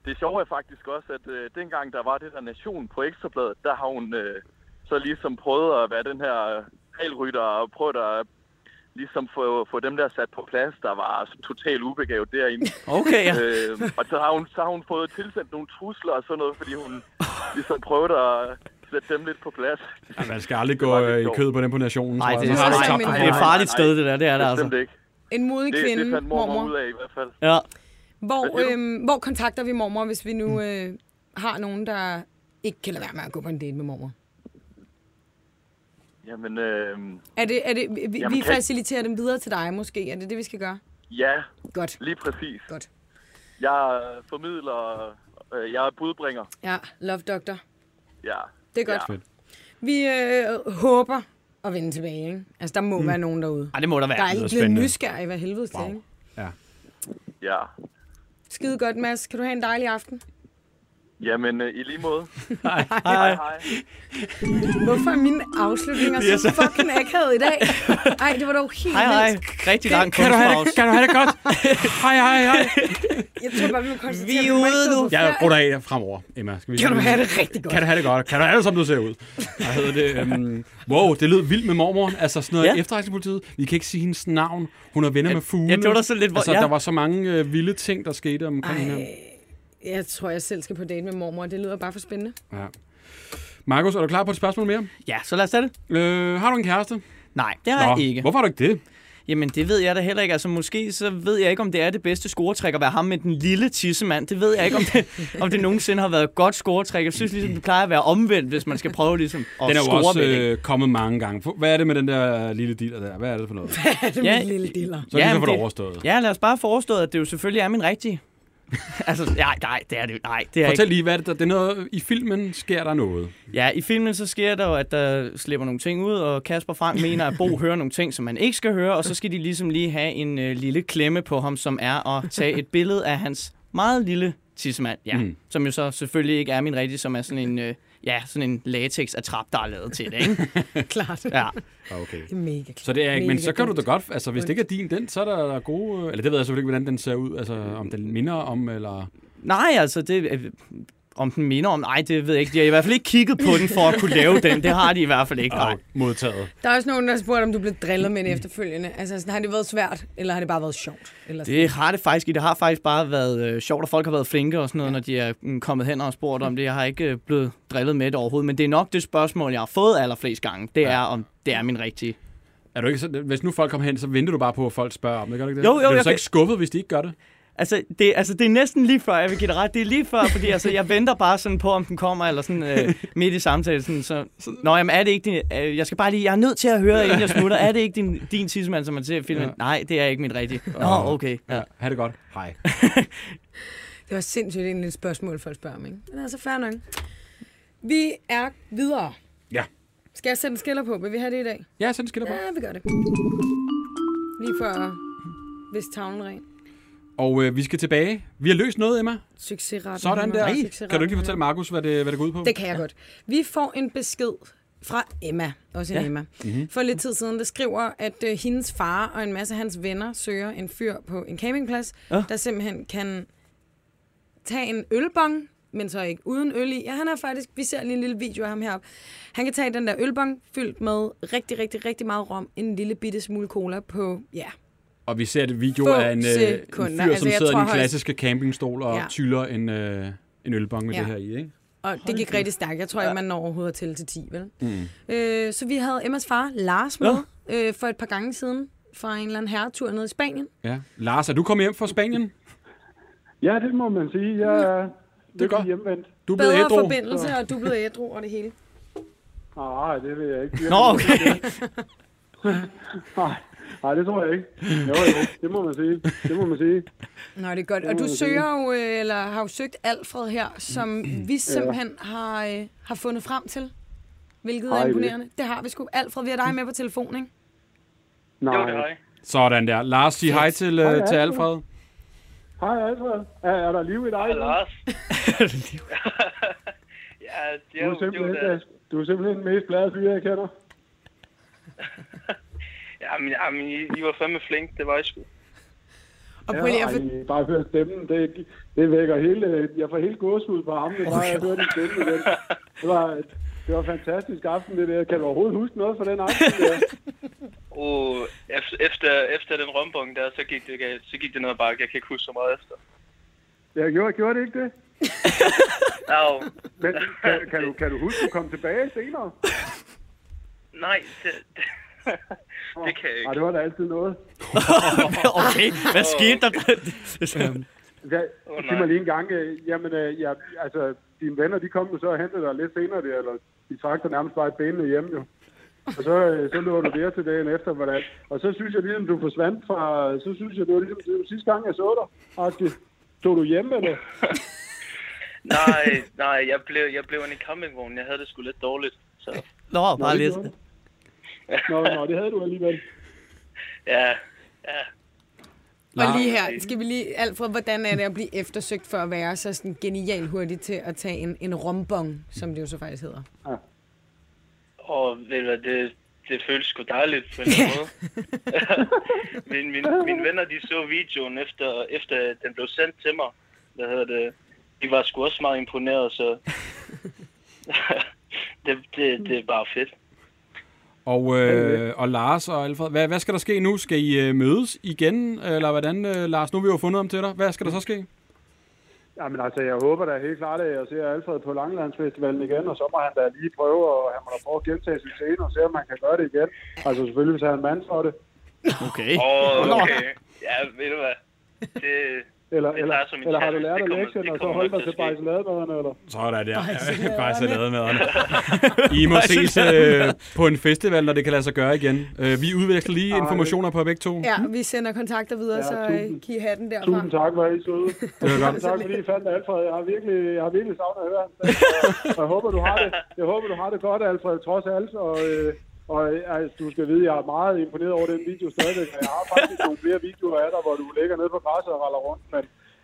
Speaker 7: det sjove er faktisk også, at øh, dengang der var det der Nation på Ekstrabladet, der har hun øh, så ligesom prøvet at være den her øh, regelrytter og prøvet at ligesom få, få dem der sat på plads, der var totalt ubegavet derinde.
Speaker 4: Okay, ja.
Speaker 7: øh, og så har, hun, så har hun fået tilsendt nogle trusler og sådan noget, fordi hun ligesom prøvede at sætte dem lidt på plads.
Speaker 2: Ja, man skal aldrig
Speaker 7: var
Speaker 2: gå
Speaker 7: lidt
Speaker 2: øh, i
Speaker 7: sjovt.
Speaker 2: kød på den på nationen,
Speaker 4: Nej,
Speaker 2: tror jeg.
Speaker 4: det,
Speaker 2: Så har
Speaker 3: også
Speaker 2: du
Speaker 3: som
Speaker 2: tabt
Speaker 3: en
Speaker 2: den.
Speaker 4: det er et
Speaker 7: far.
Speaker 4: farligt sted, det der. Det er der altså.
Speaker 7: Bestemt ikke.
Speaker 3: En modig
Speaker 7: Det,
Speaker 3: kvinde,
Speaker 7: det fandt mormor,
Speaker 3: mormor.
Speaker 7: ud af i hvert fald.
Speaker 4: Ja.
Speaker 3: Hvor,
Speaker 7: Hvad siger
Speaker 3: øhm, hvor kontakter vi mormor, hvis vi nu øh, har nogen, der ikke kan lade være med at gå på en date med mormor?
Speaker 7: Jamen, øh,
Speaker 3: Er det, er det, vi, vi
Speaker 7: Jamen, kan-
Speaker 3: faciliterer dem videre til dig måske? Er det det, vi skal gøre?
Speaker 7: ja,
Speaker 3: Godt.
Speaker 7: lige præcis.
Speaker 3: Godt.
Speaker 7: Jeg øh, formidler, øh, jeg er budbringer.
Speaker 3: Ja, love doctor.
Speaker 7: Ja.
Speaker 3: Det er godt.
Speaker 7: Ja.
Speaker 3: Vi øh, håber at vende tilbage, ikke? Altså, der må mm. være nogen derude.
Speaker 4: Ej, det må der
Speaker 3: Der
Speaker 4: være.
Speaker 3: er ikke blevet
Speaker 2: spændende.
Speaker 3: nysgerrig, hvad helvede til,
Speaker 2: Wow.
Speaker 3: ikke?
Speaker 2: Ja.
Speaker 7: ja.
Speaker 3: Skide godt, Mads. Kan du have en dejlig aften?
Speaker 7: Jamen, øh, i lige måde.
Speaker 4: Hej.
Speaker 7: Hej, hej.
Speaker 3: Hvorfor er mine afslutninger
Speaker 4: Det er
Speaker 3: så fucking akavet i dag? Ej, det var dog helt
Speaker 4: Hej, hej.
Speaker 3: vildt.
Speaker 4: Rigtig lang
Speaker 2: Kan du, have det,
Speaker 4: kunstpause.
Speaker 2: kan du have det godt? hej, hej, hej.
Speaker 3: Jeg tror bare, vi må konstatere,
Speaker 4: Vi er
Speaker 3: at
Speaker 4: ude
Speaker 3: må ikke gå
Speaker 4: nu.
Speaker 3: på
Speaker 2: Jeg
Speaker 3: ferie.
Speaker 2: rutter af fremover, Emma. Skal vi
Speaker 3: Kan du have det rigtig godt?
Speaker 2: Kan du have det godt? Kan du have det, som du ser ud? Hvad hedder det? Øhm, wow, det lød vildt med mormoren. Altså sådan noget
Speaker 4: Ja.
Speaker 2: ja. efterretningspolitiet. Vi kan ikke sige hendes navn. Hun er venner med fugle.
Speaker 4: ja, det var da sådan lidt, hvor-
Speaker 2: Altså,
Speaker 4: ja.
Speaker 2: der var så mange øh, vilde ting, der skete omkring hende.
Speaker 3: Ej, jeg tror, jeg selv skal på date med mormor. Det lyder bare for spændende.
Speaker 2: Ja. Markus, er du klar på et spørgsmål mere?
Speaker 4: Ja, så lad os tage det.
Speaker 2: Øh, har du en kæreste?
Speaker 4: Nej, det har jeg ikke.
Speaker 2: Hvorfor har du ikke det?
Speaker 4: Jamen, det ved jeg da heller ikke. Altså, måske så ved jeg ikke, om det er det bedste scoretræk at være ham med den lille tissemand. Det ved jeg ikke, om det, om det nogensinde har været et godt scoretræk. Jeg synes ligesom, det plejer at være omvendt, hvis man skal prøve ligesom at
Speaker 2: Den er jo
Speaker 4: score
Speaker 2: også
Speaker 4: ved det, ikke?
Speaker 2: øh, kommet mange gange. Fu- Hvad er det med den der øh, lille dealer der? Hvad er det for noget? Så
Speaker 3: Er det
Speaker 4: Ja.
Speaker 3: min lille diller?
Speaker 2: kan vi så
Speaker 4: men
Speaker 2: få det overstået.
Speaker 4: Ja, lad os bare forestå, at det jo selvfølgelig er min rigtige. altså, nej, nej, det er det jo. Nej, det er
Speaker 2: Fortæl lige, hvad er det, der, det er noget, i filmen sker der noget.
Speaker 4: ikke. Ja, i filmen så sker der jo, at der slipper nogle ting ud, og Kasper Frank mener, at Bo hører nogle ting, som man ikke skal høre, og så skal de ligesom lige have en øh, lille klemme på ham, som er at tage et billede af hans meget lille tissemand, ja, mm.
Speaker 2: Mm.
Speaker 4: som jo så selvfølgelig ikke er min rigtige, som er sådan en, øh, ja, sådan en latex-attrap, der er lavet til det, ikke?
Speaker 3: Klart.
Speaker 4: Ja.
Speaker 2: Ah, Okay.
Speaker 3: Det er mega klart.
Speaker 2: Så det er ikke, men
Speaker 3: Mega
Speaker 2: så kan du da
Speaker 3: dumt.
Speaker 2: godt, altså hvis det ikke er din, den, så er der, der gode, eller det ved jeg selvfølgelig ikke, hvordan den ser ud, altså om den minder om, eller...
Speaker 4: Nej, altså, det, øh, om den minder om, nej, det ved jeg ikke. De har i hvert fald ikke kigget på den for at kunne lave den. Det har de i hvert fald ikke. Nej.
Speaker 2: Og modtaget.
Speaker 3: Der er også nogen, der spurgte, om du blev drillet med en efterfølgende. Altså, sådan, har det været svært, eller har det bare været sjovt? Eller sådan.
Speaker 4: Det har det faktisk ikke. Det har faktisk bare været øh, sjovt, at folk har været flinke og sådan noget, ja. når de er mm, kommet hen og har spurgt om det. Jeg har ikke øh, blevet drillet med det overhovedet, men det er nok det spørgsmål, jeg har fået allerflest gange. Det ja. er, om det er min rigtige.
Speaker 2: Er du ikke så, hvis nu folk kommer hen, så venter du bare på, at folk spørger om det, gør du ikke det?
Speaker 4: Jo, jo,
Speaker 2: Bliver
Speaker 4: jeg
Speaker 2: du så
Speaker 4: kan-
Speaker 2: ikke skuffet, hvis de ikke gør det?
Speaker 4: Altså det, altså, det er næsten lige før, jeg vil give dig ret. Det er lige før, fordi altså, jeg venter bare sådan på, om den kommer, eller sådan øh, midt i samtalen. Sådan, så, Nå, jamen er det ikke din... Øh, jeg skal bare lige... Jeg er nødt til at høre, inden jeg smutter. Er det ikke din, din tidsmand, som man ser i filmen? Ja.
Speaker 2: Ja.
Speaker 4: Nej, det er ikke mit rigtige. Nå, okay. Ja.
Speaker 2: Ja, ha' det godt. Hej.
Speaker 3: Det var sindssygt egentlig et spørgsmål, folk spørger om, ikke? Men altså, fair nok. Vi er videre.
Speaker 2: Ja.
Speaker 3: Skal jeg sætte en skiller på? Vil vi have det i dag?
Speaker 2: Ja, send skiller på.
Speaker 3: Ja, vi gør det. Lige for at hvis tavlen ren.
Speaker 2: Og øh, vi skal tilbage. Vi har løst noget, Emma.
Speaker 3: Succesret.
Speaker 2: Sådan der. Kan du ikke lige fortælle Markus, hvad det, hvad det går ud på?
Speaker 3: Det kan jeg godt. Vi får en besked fra Emma, også en ja. Emma, mm-hmm. for lidt tid siden, der skriver, at øh, hendes far og en masse af hans venner søger en fyr på en campingplads,
Speaker 4: Ja.
Speaker 3: ja. der simpelthen kan tage en ølbong, men så ikke uden øl i. Ja, han er faktisk, vi ser lige en lille video af ham heroppe. Han kan tage den der ølbong fyldt med rigtig, rigtig, rigtig meget rom, en lille bitte smule cola på, ja,
Speaker 2: Og vi ser et video
Speaker 3: Få
Speaker 2: af en, øh, en fyr,
Speaker 3: sekunder.
Speaker 2: altså,
Speaker 3: Altså,
Speaker 2: som
Speaker 3: jeg
Speaker 2: sidder i
Speaker 3: tror
Speaker 2: en
Speaker 3: højst-
Speaker 2: klassiske campingstol og
Speaker 3: Ja.
Speaker 2: ja. tyller en, øh, en ølbong med
Speaker 3: Ja.
Speaker 2: ja. det her i, ikke?
Speaker 3: Og det gik rigtig stærkt. Jeg tror ikke, man når overhovedet at tælle til 10, vel? Mm. Øh, så vi havde Emmas far, Lars, med øh, for et par gange siden fra en eller anden herretur nede i Spanien.
Speaker 2: Ja. Lars, er du kommet hjem fra Spanien?
Speaker 8: Ja, det må man sige. Jeg er det
Speaker 2: godt.
Speaker 8: hjemvendt.
Speaker 2: Du er blevet
Speaker 3: Bedre
Speaker 2: ædru.
Speaker 3: forbindelse, og du blev ædru og det hele.
Speaker 8: Nej, det vil jeg ikke.
Speaker 4: Nå, okay.
Speaker 8: Nej, nej, det tror jeg ikke. Jo, jo, det må man sige. Det må man sige.
Speaker 3: Nå, det er godt. Og du søger jo, øh, eller har jo søgt Alfred her, som vi simpelthen har, øh, har fundet frem til. hvilket
Speaker 8: Hej,
Speaker 3: er
Speaker 8: Lee.
Speaker 3: imponerende. Det har vi sgu. Alfred, vi har dig med på telefon, ikke?
Speaker 8: Nej.
Speaker 2: Sådan der. Lars, sig hej til,
Speaker 8: Hej,
Speaker 2: øh,
Speaker 8: Alfred.
Speaker 2: til Alfred.
Speaker 8: Hej, Alfred. Er, er der liv i dig?
Speaker 9: Hej, Lars. ja, det
Speaker 8: Du
Speaker 9: er
Speaker 8: er
Speaker 9: jo, det er jo
Speaker 8: simpelthen,
Speaker 9: da,
Speaker 8: du er simpelthen den mest glade fyr, jeg kender.
Speaker 9: jamen, jamen, I, I var fandme flink, det var I sgu.
Speaker 3: Og prøv lige
Speaker 8: Ja,
Speaker 3: at for...
Speaker 8: ej, bare hør stemmen. Det, det vækker hele... Jeg får helt gåsehud på armene, bare jeg hører din stemme igen. Det var, det var en fantastisk aften, det der. Kan du overhovedet huske noget fra den aften? Der?
Speaker 9: Og ef- efter, efter den rombong der, så gik det, galt- så gik det ned ad bakke. Jeg kan ikke huske så meget efter.
Speaker 8: Jeg gjorde, gjorde det ikke det?
Speaker 9: Au,
Speaker 8: Men kan, kan, du, kan du huske, at du kom tilbage senere?
Speaker 9: nej, det, det, det kan jeg
Speaker 8: Ej,
Speaker 9: ikke.
Speaker 8: det var da altid noget.
Speaker 4: okay, hvad skete der?
Speaker 8: Hvad,
Speaker 9: Åh,
Speaker 8: sig mig
Speaker 9: nej.
Speaker 8: lige en gang. øh, Jamen, øh, ja, altså, dine venner, de kom jo så og hentede dig lidt senere der, eller de trak dig nærmest bare i benene hjemme jo. Og så, øh, så lå du der til dagen efter, hvordan. Og så synes jeg ligesom, du forsvandt fra... Så synes jeg, det var ligesom det var sidste gang, jeg så dig. Aske, tog du hjem eller?
Speaker 9: Nej, nej, jeg blev, jeg blev en i campingvognen. Jeg havde det sgu lidt dårligt. Så
Speaker 4: Nå, bare
Speaker 8: det
Speaker 4: lidt.
Speaker 8: gjorde du. Nå, nå, det havde du alligevel.
Speaker 9: ja, ja.
Speaker 3: Og lige her, skal vi lige... Alfred, hvordan er det at blive eftersøgt for at være så sådan genial hurtigt til at tage en, en rombong, som det jo så faktisk hedder?
Speaker 9: Og ved du hvad, det, det føles sgu dejligt på en eller anden måde. min, min, mine venner, de så videoen efter, efter den blev sendt til mig. Hvad hedder det? De var sgu også meget imponeret, så... det, det, det er bare fedt.
Speaker 2: Og, øh, og Lars og Alfred, hvad, hvad skal der ske nu? Skal I øh, mødes igen? Eller hvordan, øh, Lars? Nu har vi jo fundet ham til dig. Hvad skal der så ske?
Speaker 8: Jamen altså, jeg håber da helt klart, at jeg ser Alfred på Langlandsfestivalen igen, og så må han da lige prøve, og han må da prøve at gentage sin scene og se, om han kan gøre det igen. Altså selvfølgelig, hvis han er en mand for det.
Speaker 4: Okay.
Speaker 9: Åh, oh, okay. Ja, ved du hvad? Det,
Speaker 8: Eller,
Speaker 9: Det er
Speaker 8: eller,
Speaker 9: klart som en
Speaker 8: eller har du
Speaker 9: kæreste.
Speaker 8: lært
Speaker 9: Det
Speaker 8: af
Speaker 9: kommer-
Speaker 8: lektien,
Speaker 9: det
Speaker 8: og så
Speaker 9: kommer
Speaker 8: holdt
Speaker 9: nok
Speaker 8: dig til
Speaker 9: til at ske.
Speaker 8: bajsaladmaderne, eller?
Speaker 2: Så er der der. Bare saladmaderne. I må ses øh, på en festival, når det kan lade sig gøre igen. Øh, vi udveksler lige informationer på begge to.
Speaker 3: Ja, vi sender kontakter videre,
Speaker 8: Ja,
Speaker 3: så
Speaker 8: tusind.
Speaker 3: øh, kan I have den derfra.
Speaker 8: Tusind tak, hvor er I søde.
Speaker 2: Det var
Speaker 8: Tusind
Speaker 2: godt.
Speaker 8: tak, fordi I fandt Alfred. Jeg har virkelig, jeg har virkelig savnet at høre hans stemme, og jeg håber, du har det. Jeg håber, du har det godt, Alfred, trods alt. Og, øh, og øh, altså, du skal vide, jeg er meget imponeret over den video stadigvæk. og Jeg har faktisk nogle flere videoer af dig, hvor du ligger nede på græsset og raller rundt, men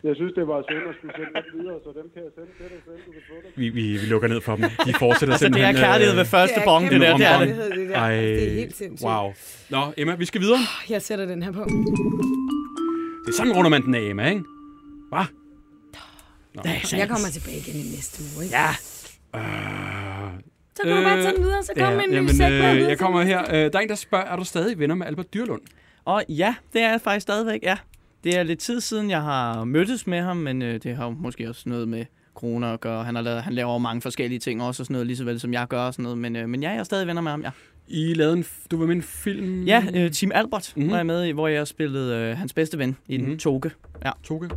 Speaker 8: jeg synes, det var synd at skulle sende dem videre, så dem kan jeg sende til dig selv, du kan få dem.
Speaker 2: Vi, vi, vi lukker ned for dem. De fortsætter øh,
Speaker 4: Altså, det er kærlighed ved første bong, det
Speaker 3: kæmpe
Speaker 4: der. Det er det.
Speaker 3: kærlighed, det. der. Altså,
Speaker 2: Ej,
Speaker 3: det er helt sindssygt.
Speaker 2: Wow. Nå, Emma, vi skal videre.
Speaker 4: Ah.
Speaker 3: Jeg sætter den her på.
Speaker 2: Det er sådan runder man den af, Emma, ikke? Hva?
Speaker 3: Jeg kommer tilbage igen i næste uge, ikke?
Speaker 4: Ja, Ah.
Speaker 3: Så kan du bare tage den videre, så kommer en ny sæk med
Speaker 2: øh,
Speaker 3: videre
Speaker 2: jeg
Speaker 3: til
Speaker 2: kommer her. Øh, der er en, der spørger, er du stadig venner med Albert Dyrlund?
Speaker 4: Og ja, det er jeg faktisk stadigvæk, ja. Det er lidt tid siden, jeg har mødtes med ham, men øh, det har jo måske også noget med corona at gøre. Han, har lavet, han laver jo mange forskellige ting også, og sådan noget, lige så vel som jeg gør og sådan noget. Men, øh, men ja, jeg er stadig venner med ham, ja.
Speaker 2: I lavede en, f- du var med i en film,
Speaker 4: Ja, øh, Team Albert
Speaker 2: Mhm.
Speaker 4: mm-hmm. var jeg med i, hvor jeg spillede øh, hans bedste ven i mm-hmm.
Speaker 2: Mhm.
Speaker 4: den toge.
Speaker 2: Toge.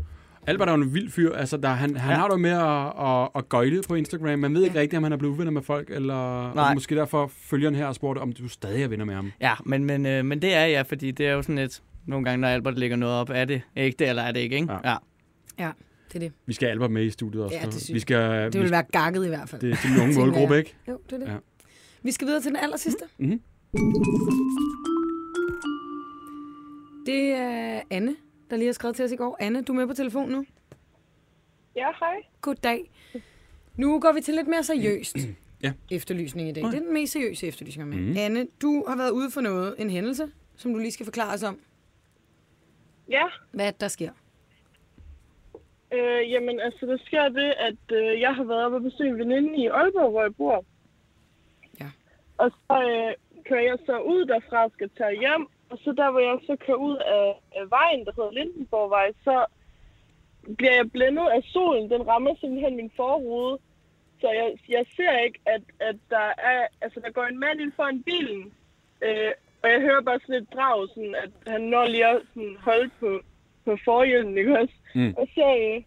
Speaker 2: Albert er jo en vild fyr. Altså, der, han, han
Speaker 4: Ja.
Speaker 2: har det jo med at, at, at gøjle på Instagram. Man ved ikke rigtigt, om han er blevet uvenner med folk, eller
Speaker 4: Nej.
Speaker 2: og måske derfor følgeren her og spurgte, om du stadig er venner med ham.
Speaker 4: Ja, men, men, øh, men det er jeg, fordi det er jo sådan lidt... Nogle gange, når Albert lægger noget op, er det ægte, eller er det ikke, ikke?
Speaker 2: Ja.
Speaker 4: ja.
Speaker 3: Det, er det.
Speaker 2: Vi skal have Albert med i studiet også.
Speaker 3: Ja, det synes
Speaker 2: vi
Speaker 3: jeg.
Speaker 2: skal,
Speaker 3: det
Speaker 2: vi,
Speaker 3: vil være gakket i hvert fald.
Speaker 2: det, det er den unge
Speaker 3: Tænker
Speaker 2: målgruppe,
Speaker 3: jeg.
Speaker 2: ikke?
Speaker 3: Jo, det er det.
Speaker 2: Ja.
Speaker 3: Ja. Vi skal videre til den aller sidste.
Speaker 2: Mhm.
Speaker 3: Det er Anne, der lige har skrevet til os i går. Anne, du er med på telefon nu.
Speaker 6: Ja, hej.
Speaker 3: Goddag. Nu går vi til lidt mere seriøst
Speaker 2: Ja.
Speaker 3: efterlysning i dag. Det er den mest seriøse efterlysning, jeg har med.
Speaker 2: Mhm.
Speaker 3: Anne, du har været ude for noget, en hændelse, som du lige skal forklare os om,
Speaker 6: Ja,
Speaker 3: hvad der sker.
Speaker 6: øh, jamen altså, der sker det, at øh, jeg har været oppe og besøge en veninde i Aalborg, hvor jeg bor.
Speaker 3: Ja.
Speaker 6: Og så øh, kører jeg så ud derfra og skal tage hjem. Og så der, hvor jeg så kører ud af, af vejen, der hedder Lindenborgvej, så bliver jeg blændet af solen. Den rammer simpelthen min forrude. Så jeg, jeg ser ikke, at, at der er, altså, der går en mand ind foran bilen. Øh, og jeg hører bare sådan et drag, sådan, at han når lige at sådan, holde på, på forhjælpen, ikke også?
Speaker 2: Mm.
Speaker 6: Og så, øh,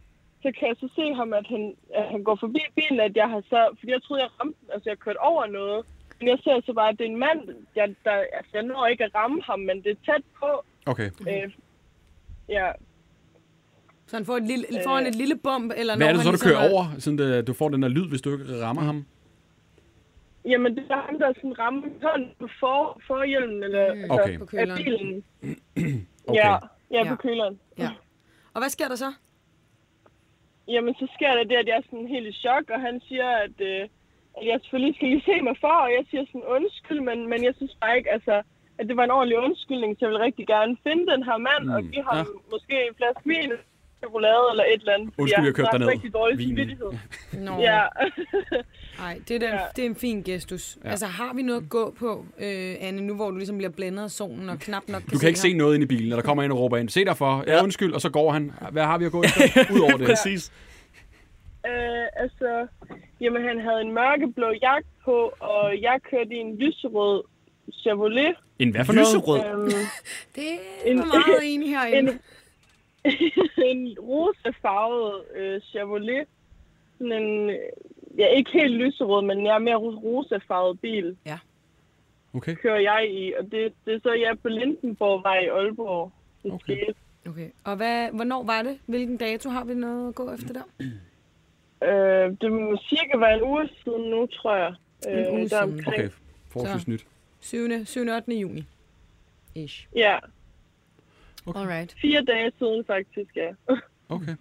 Speaker 6: så kan jeg så se ham, at han, at han går forbi bilen, at jeg har så... Fordi jeg troede, jeg ramte den, altså jeg kørte over noget. Men jeg ser så bare, at det er en mand, jeg, der, altså, jeg når ikke at ramme ham, men det er tæt på.
Speaker 2: Okay.
Speaker 6: Øh, ja,
Speaker 3: Så han får, et
Speaker 10: Øh,
Speaker 3: lille, får han et lille bump? Eller
Speaker 2: Hvad
Speaker 3: når
Speaker 2: er det
Speaker 3: han
Speaker 2: så, du
Speaker 3: ligesom
Speaker 2: kører
Speaker 3: er-
Speaker 2: over, siden øh, du får den der lyd, hvis du ikke rammer ham?
Speaker 10: Jamen, det var ham, der sådan ramte hånden på for, forhjelmen, eller mm.
Speaker 6: altså,
Speaker 2: Okay.
Speaker 3: På
Speaker 10: af
Speaker 3: køleren.
Speaker 10: bilen.
Speaker 2: Okay.
Speaker 10: Ja, ja,
Speaker 3: Ja.
Speaker 10: på køleren.
Speaker 3: Ja. Og hvad sker der så?
Speaker 10: Jamen, så sker der det, at jeg er sådan helt i chok, og han siger, at, øh, at jeg selvfølgelig skal lige se mig for, og jeg siger sådan undskyld, men, men jeg synes bare ikke, altså, at det var en ordentlig undskyldning, så jeg vil rigtig gerne finde den her mand, mm. og give ham
Speaker 2: Ja.
Speaker 10: ja. måske en flaske vin, chokolade eller et eller andet. fordi
Speaker 2: Undskyld,
Speaker 10: har
Speaker 2: jeg kørte
Speaker 10: haft
Speaker 2: derned.
Speaker 10: rigtig dårlig
Speaker 2: Vinen.
Speaker 10: samvittighed.
Speaker 3: Nå,
Speaker 10: Ja.
Speaker 3: ej, det, er den,
Speaker 10: Ja.
Speaker 3: det er en fin gestus. Ja. Altså, har vi noget at gå på, øh, Anne, nu hvor du ligesom bliver blændet af solen og knap nok kan
Speaker 2: Du kan ikke se
Speaker 3: ham?
Speaker 2: noget ind i bilen, og der kommer en og råber ind. Se dig for. Ja,
Speaker 4: Ja.
Speaker 2: undskyld. Og så går han. Hvad har vi at gå efter? Ud over det.
Speaker 4: Præcis.
Speaker 10: Øh, altså, jamen han havde en mørkeblå jakke på, og jeg kørte i en lyserød Chevrolet.
Speaker 2: En hvad for noget?
Speaker 4: Lyserød.
Speaker 10: Øhm,
Speaker 3: Det
Speaker 10: En-
Speaker 3: er meget enig herinde.
Speaker 10: en, en rosefarvet øh, Chevrolet. Sådan en, øh, ja, ikke helt lyserød, men jeg er mere ro- rosefarvet bil,
Speaker 2: Okay.
Speaker 10: kører jeg i. Og det, det er så jeg på Lindenborgvej i Aalborg. Det
Speaker 2: Okay.
Speaker 10: skete.
Speaker 3: Okay. Og hvad, hvornår var det? Hvilken dato har vi noget at gå efter der?
Speaker 10: Øh, det må cirka være en uge siden nu, tror jeg. Øh,
Speaker 3: En uge
Speaker 10: deromkring.
Speaker 3: siden.
Speaker 2: Okay. Forholdsvis
Speaker 3: Så.
Speaker 2: nyt.
Speaker 3: 7. 7. 8. juni. Ish.
Speaker 10: Ja,
Speaker 2: Okay.
Speaker 3: Alright.
Speaker 10: fire dage siden faktisk, ja.
Speaker 2: Okay.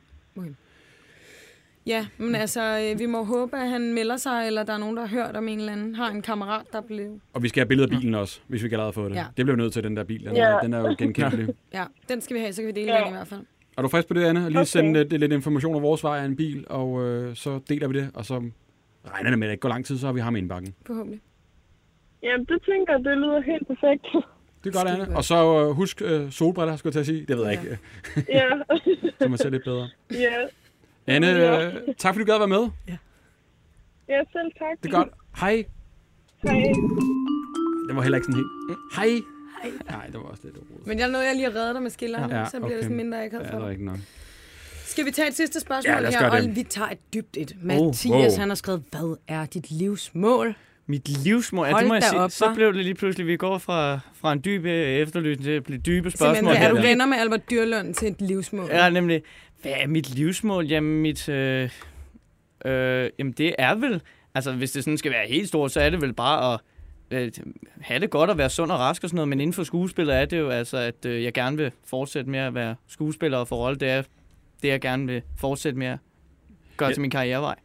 Speaker 3: Ja, men altså, øh, vi må håbe, at han melder sig, eller der er nogen, der har hørt om en eller anden, har en kammerat, der blev...
Speaker 2: Og vi skal have billeder af bilen også, hvis vi ikke allerede har fået det.
Speaker 3: Ja.
Speaker 2: Det bliver vi nødt til, den der bil. Den,
Speaker 10: Ja.
Speaker 2: er, den er jo genkendelig.
Speaker 3: Ja, den skal vi have, så kan vi dele
Speaker 10: Ja.
Speaker 3: den i hvert fald.
Speaker 2: er du frisk på det, Anna? Og lige okay.
Speaker 10: Okay.
Speaker 2: sende lidt, lidt information om vores vej af en bil, og øh, så deler vi det, og så regner det med, at det ikke går lang tid, så har vi ham i indbakken.
Speaker 3: Forhåbentlig.
Speaker 10: Jamen, det tænker jeg, det lyder helt perfekt.
Speaker 2: Det er godt,
Speaker 3: Skide
Speaker 2: Anna.
Speaker 3: godt.
Speaker 2: Og så øh, husk øh, solbriller, skulle jeg til at sige. Det ved jeg ikke, øh,
Speaker 10: ja,
Speaker 2: så man ser lidt bedre.
Speaker 10: ja.
Speaker 2: Anne,
Speaker 10: Ja.
Speaker 2: øh, tak fordi du gad at være med.
Speaker 10: ja, selv tak.
Speaker 2: Det er godt. Hej.
Speaker 10: Hej.
Speaker 2: Det var heller ikke sådan helt.
Speaker 3: Mm.
Speaker 2: Hej. Nej, det var også lidt rodet.
Speaker 3: Men jeg nåede jeg lige at redde dig med skilleren,
Speaker 2: Ja,
Speaker 3: ja, så bliver
Speaker 2: okay.
Speaker 3: det sådan mindre akavet
Speaker 2: Ja,
Speaker 3: for
Speaker 2: det er
Speaker 3: dig.
Speaker 2: ikke nok.
Speaker 3: Skal vi tage et sidste spørgsmål
Speaker 2: Ja, lad os
Speaker 3: her,
Speaker 2: gøre
Speaker 3: og
Speaker 2: det.
Speaker 3: vi tager et dybt et. Mathias, oh,
Speaker 2: wow.
Speaker 3: wow. han har skrevet, hvad er dit livsmål?
Speaker 4: Mit livsmål, ja,
Speaker 3: Hold
Speaker 4: det må jeg
Speaker 3: da
Speaker 4: sige.
Speaker 3: op, hva'?
Speaker 4: så blev det lige pludselig, vi går fra, fra en dyb øh, efterlysning til at blive dybe spørgsmål.
Speaker 3: Simpelthen, er du
Speaker 4: her.
Speaker 3: venner med Albert Dyrlund til et livsmål?
Speaker 4: Ja, nemlig. Hvad er mit livsmål? Jamen, mit... Øh, øh, jamen, det er vel... Altså, hvis det sådan skal være helt stort, så er det vel bare at øh, have det godt og være sund og rask og sådan noget. Men inden for skuespiller er det jo altså, at øh, jeg gerne vil fortsætte med at være skuespiller og få rolle. Det er det, jeg gerne vil fortsætte med at gøre
Speaker 2: Ja.
Speaker 4: ja. til min karrierevej.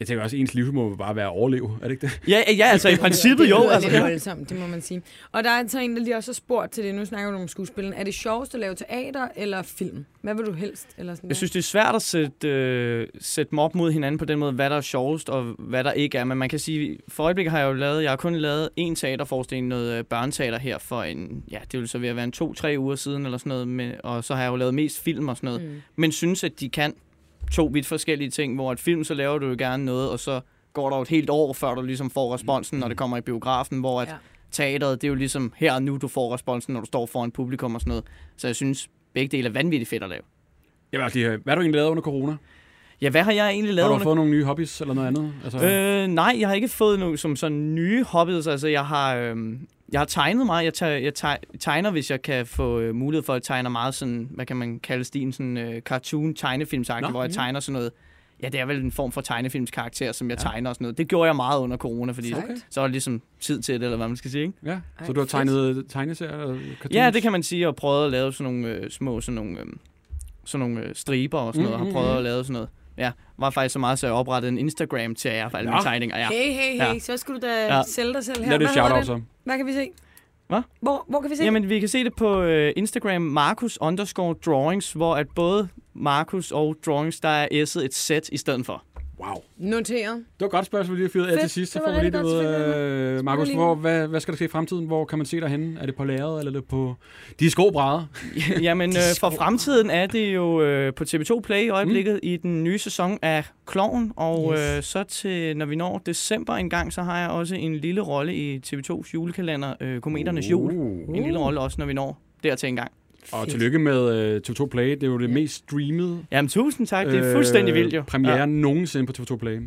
Speaker 2: Jeg tænker også, at ens livsmål vil bare være at overleve. Er det ikke det?
Speaker 4: Ja, ja altså i princippet
Speaker 3: det
Speaker 4: jo.
Speaker 3: lyder
Speaker 4: Altså,
Speaker 3: lidt voldsomt, det må man sige. Og der er så en, der lige også har spurgt til det. Nu snakker du om skuespillen. Er det sjovest at lave teater eller film? Hvad vil du helst? Eller sådan
Speaker 4: Jeg synes, det er svært at sætte, øh, sætte dem op mod hinanden på den måde, hvad der er sjovest og hvad der ikke er. Men man kan sige, for øjeblikket har jeg jo lavet, jeg har kun lavet en teaterforestilling, noget øh, børneteater her for en, ja, det vil så ved at være en to-tre uger siden eller sådan noget. Men, og så har jeg jo lavet mest film og sådan noget. Mm. Men synes, at de kan to vidt forskellige ting, hvor et film, så laver du jo gerne noget, og så går der jo et helt år, før du ligesom får responsen, når det kommer i biografen, hvor at
Speaker 3: Ja.
Speaker 4: ja. teateret, det er jo ligesom her og nu, du får responsen, når du står foran publikum og sådan noget. Så jeg synes, begge dele er vanvittigt fedt at lave.
Speaker 2: Jeg vil også lige høre, hvad har du egentlig lavet under corona?
Speaker 4: Ja, hvad har jeg egentlig lavet
Speaker 2: Har du
Speaker 4: under
Speaker 2: fået nogle nye hobbies eller noget andet? Altså,
Speaker 4: Øh, nej, jeg har ikke fået nogen som sådan nye hobbies. Altså, jeg har, øh, jeg har tegnet meget. Jeg, teg, jeg teg, tegner, hvis jeg kan få øh, mulighed for at tegne meget sådan, hvad kan man kalde stilen, sådan øh, cartoon
Speaker 2: Nå.
Speaker 4: tegnefilmsagtigt, hvor jeg tegner sådan noget. Ja, det er vel en form for tegnefilmskarakter, som jeg ja. tegner og sådan noget. Det gjorde jeg meget under corona, fordi
Speaker 3: Okay.
Speaker 4: okay. så var det ligesom tid til det, eller hvad man skal sige. Ikke?
Speaker 2: ja. Så
Speaker 3: Ej,
Speaker 2: du har
Speaker 3: fedt.
Speaker 2: tegnet øh, tegneserier? eller cartoons?
Speaker 4: Ja, det kan man sige, og prøvede at lave sådan nogle øh, små sådan nogle, øh, sådan nogle øh, striber og sådan noget, og
Speaker 2: Mm,
Speaker 4: har prøvet at lave sådan noget. Ja, var faktisk så meget, så jeg oprettede en Instagram til jer for alle mine
Speaker 2: Nå.
Speaker 4: tegninger. Ja.
Speaker 3: Hey, hey, hey. Ja.
Speaker 4: Ja.
Speaker 3: Så skulle du da ja.
Speaker 4: Ja.
Speaker 3: sælge dig selv her.
Speaker 2: Lad det
Speaker 3: Hvad hedder
Speaker 2: shout-out
Speaker 3: den?
Speaker 2: så.
Speaker 3: Hvad kan vi se?
Speaker 4: Hvad?
Speaker 3: Hvor, hvor kan vi se? Jamen.
Speaker 4: Jamen, vi kan se det på øh, Instagram, Markus underscore drawings, hvor at både Markus og drawings, der er s'et et sæt i stedet for.
Speaker 2: Wow.
Speaker 3: Noteret.
Speaker 2: Det var et godt spørgsmål, vi lige har fyret af
Speaker 3: Fedt.
Speaker 2: til sidst. Så
Speaker 3: Det
Speaker 2: får
Speaker 3: var
Speaker 2: vi lige det
Speaker 3: rigtig
Speaker 2: ud.
Speaker 3: godt, selvfølgelig.
Speaker 2: Øh, Markus,
Speaker 3: lige-
Speaker 2: hvor, hvad, hvad skal der ske i fremtiden? Hvor kan man se dig henne? Er det på lærredet, eller er det på de skobrædder?
Speaker 4: Jamen, øh, for fremtiden er det jo øh, på TV2 Play i øjeblikket mm. i den nye sæson af Kloven, og
Speaker 3: Yes.
Speaker 4: yes. øh, så til, når vi når december engang, så har jeg også en lille rolle i TV2's julekalender, øh, Kometernes uh.
Speaker 3: Oh.
Speaker 4: Jul.
Speaker 2: Uh.
Speaker 4: En lille rolle også, når vi når dertil engang.
Speaker 2: Og tillykke med øh, TV2 Play. Det er jo det mest streamede
Speaker 4: Jamen, tusind tak. Det
Speaker 3: Øh,
Speaker 4: er fuldstændig vildt, jo.
Speaker 2: Øh, premiere ja. nogensinde på TV2 Play. Ja.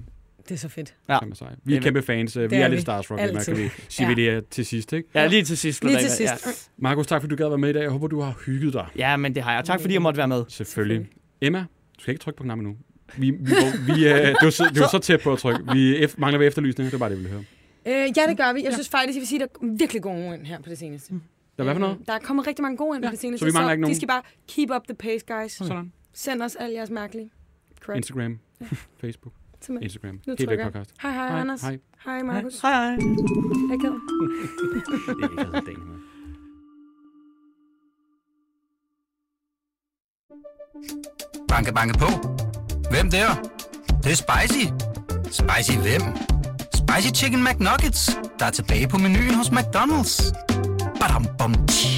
Speaker 3: Det er så fedt.
Speaker 2: Kan man sige. Vi er
Speaker 4: Jamen.
Speaker 2: kæmpe fans. øh, Vi
Speaker 3: Det
Speaker 2: er,
Speaker 3: er
Speaker 2: lidt
Speaker 3: vi.
Speaker 2: starstruck, Emma,
Speaker 3: Altid.
Speaker 2: kan vi sige ja.
Speaker 3: Ja.
Speaker 2: vi det er til sidst. Ikke?
Speaker 4: Ja, lige til sidst.
Speaker 3: Lige til
Speaker 4: Ulrik.
Speaker 3: sidst.
Speaker 4: Ja.
Speaker 2: Markus, tak fordi du gad være med i dag. Jeg håber, du har hygget dig.
Speaker 4: ja, men det har jeg. Tak, fordi jeg måtte være med.
Speaker 2: Selvfølgelig. Emma, du skal ikke trykke på knappen nu. Vi, vi, vi, øh, det, var, så- det var så tæt på at trykke. Vi ef- mangler ved efterlysninger. Det var bare det, jeg ville høre.
Speaker 3: Øh, ja, det gør vi. Jeg synes faktisk, jeg vil sige, at der er virkelig gode ind her på det seneste.
Speaker 2: Der er Mm. hvad for noget?
Speaker 3: Øhm, Der er kommet rigtig mange gode ind
Speaker 2: Ja,
Speaker 3: på det seneste.
Speaker 2: så vi mangler ikke nogen.
Speaker 3: De skal bare keep up the pace, guys.
Speaker 2: Sådan.
Speaker 3: Send os alle jeres mærkelige. Correct.
Speaker 2: Instagram, Facebook,
Speaker 3: Til mig.
Speaker 2: Instagram.
Speaker 3: Nu
Speaker 2: Helt væk
Speaker 3: trykker jeg.
Speaker 2: podcast.
Speaker 3: Hej, hej,
Speaker 2: Hej,
Speaker 3: Anders.
Speaker 2: hej.
Speaker 3: Hej, Markus.
Speaker 4: Hej, hej.
Speaker 3: Jeg er
Speaker 11: Det
Speaker 3: ked.
Speaker 11: er ikke sådan, det er.
Speaker 1: Banke, banke på. Hvem der? Det, det er spicy. Spicy hvem? Spicy Chicken McNuggets, der er tilbage på menuen hos McDonald's. Badum, bom, tji.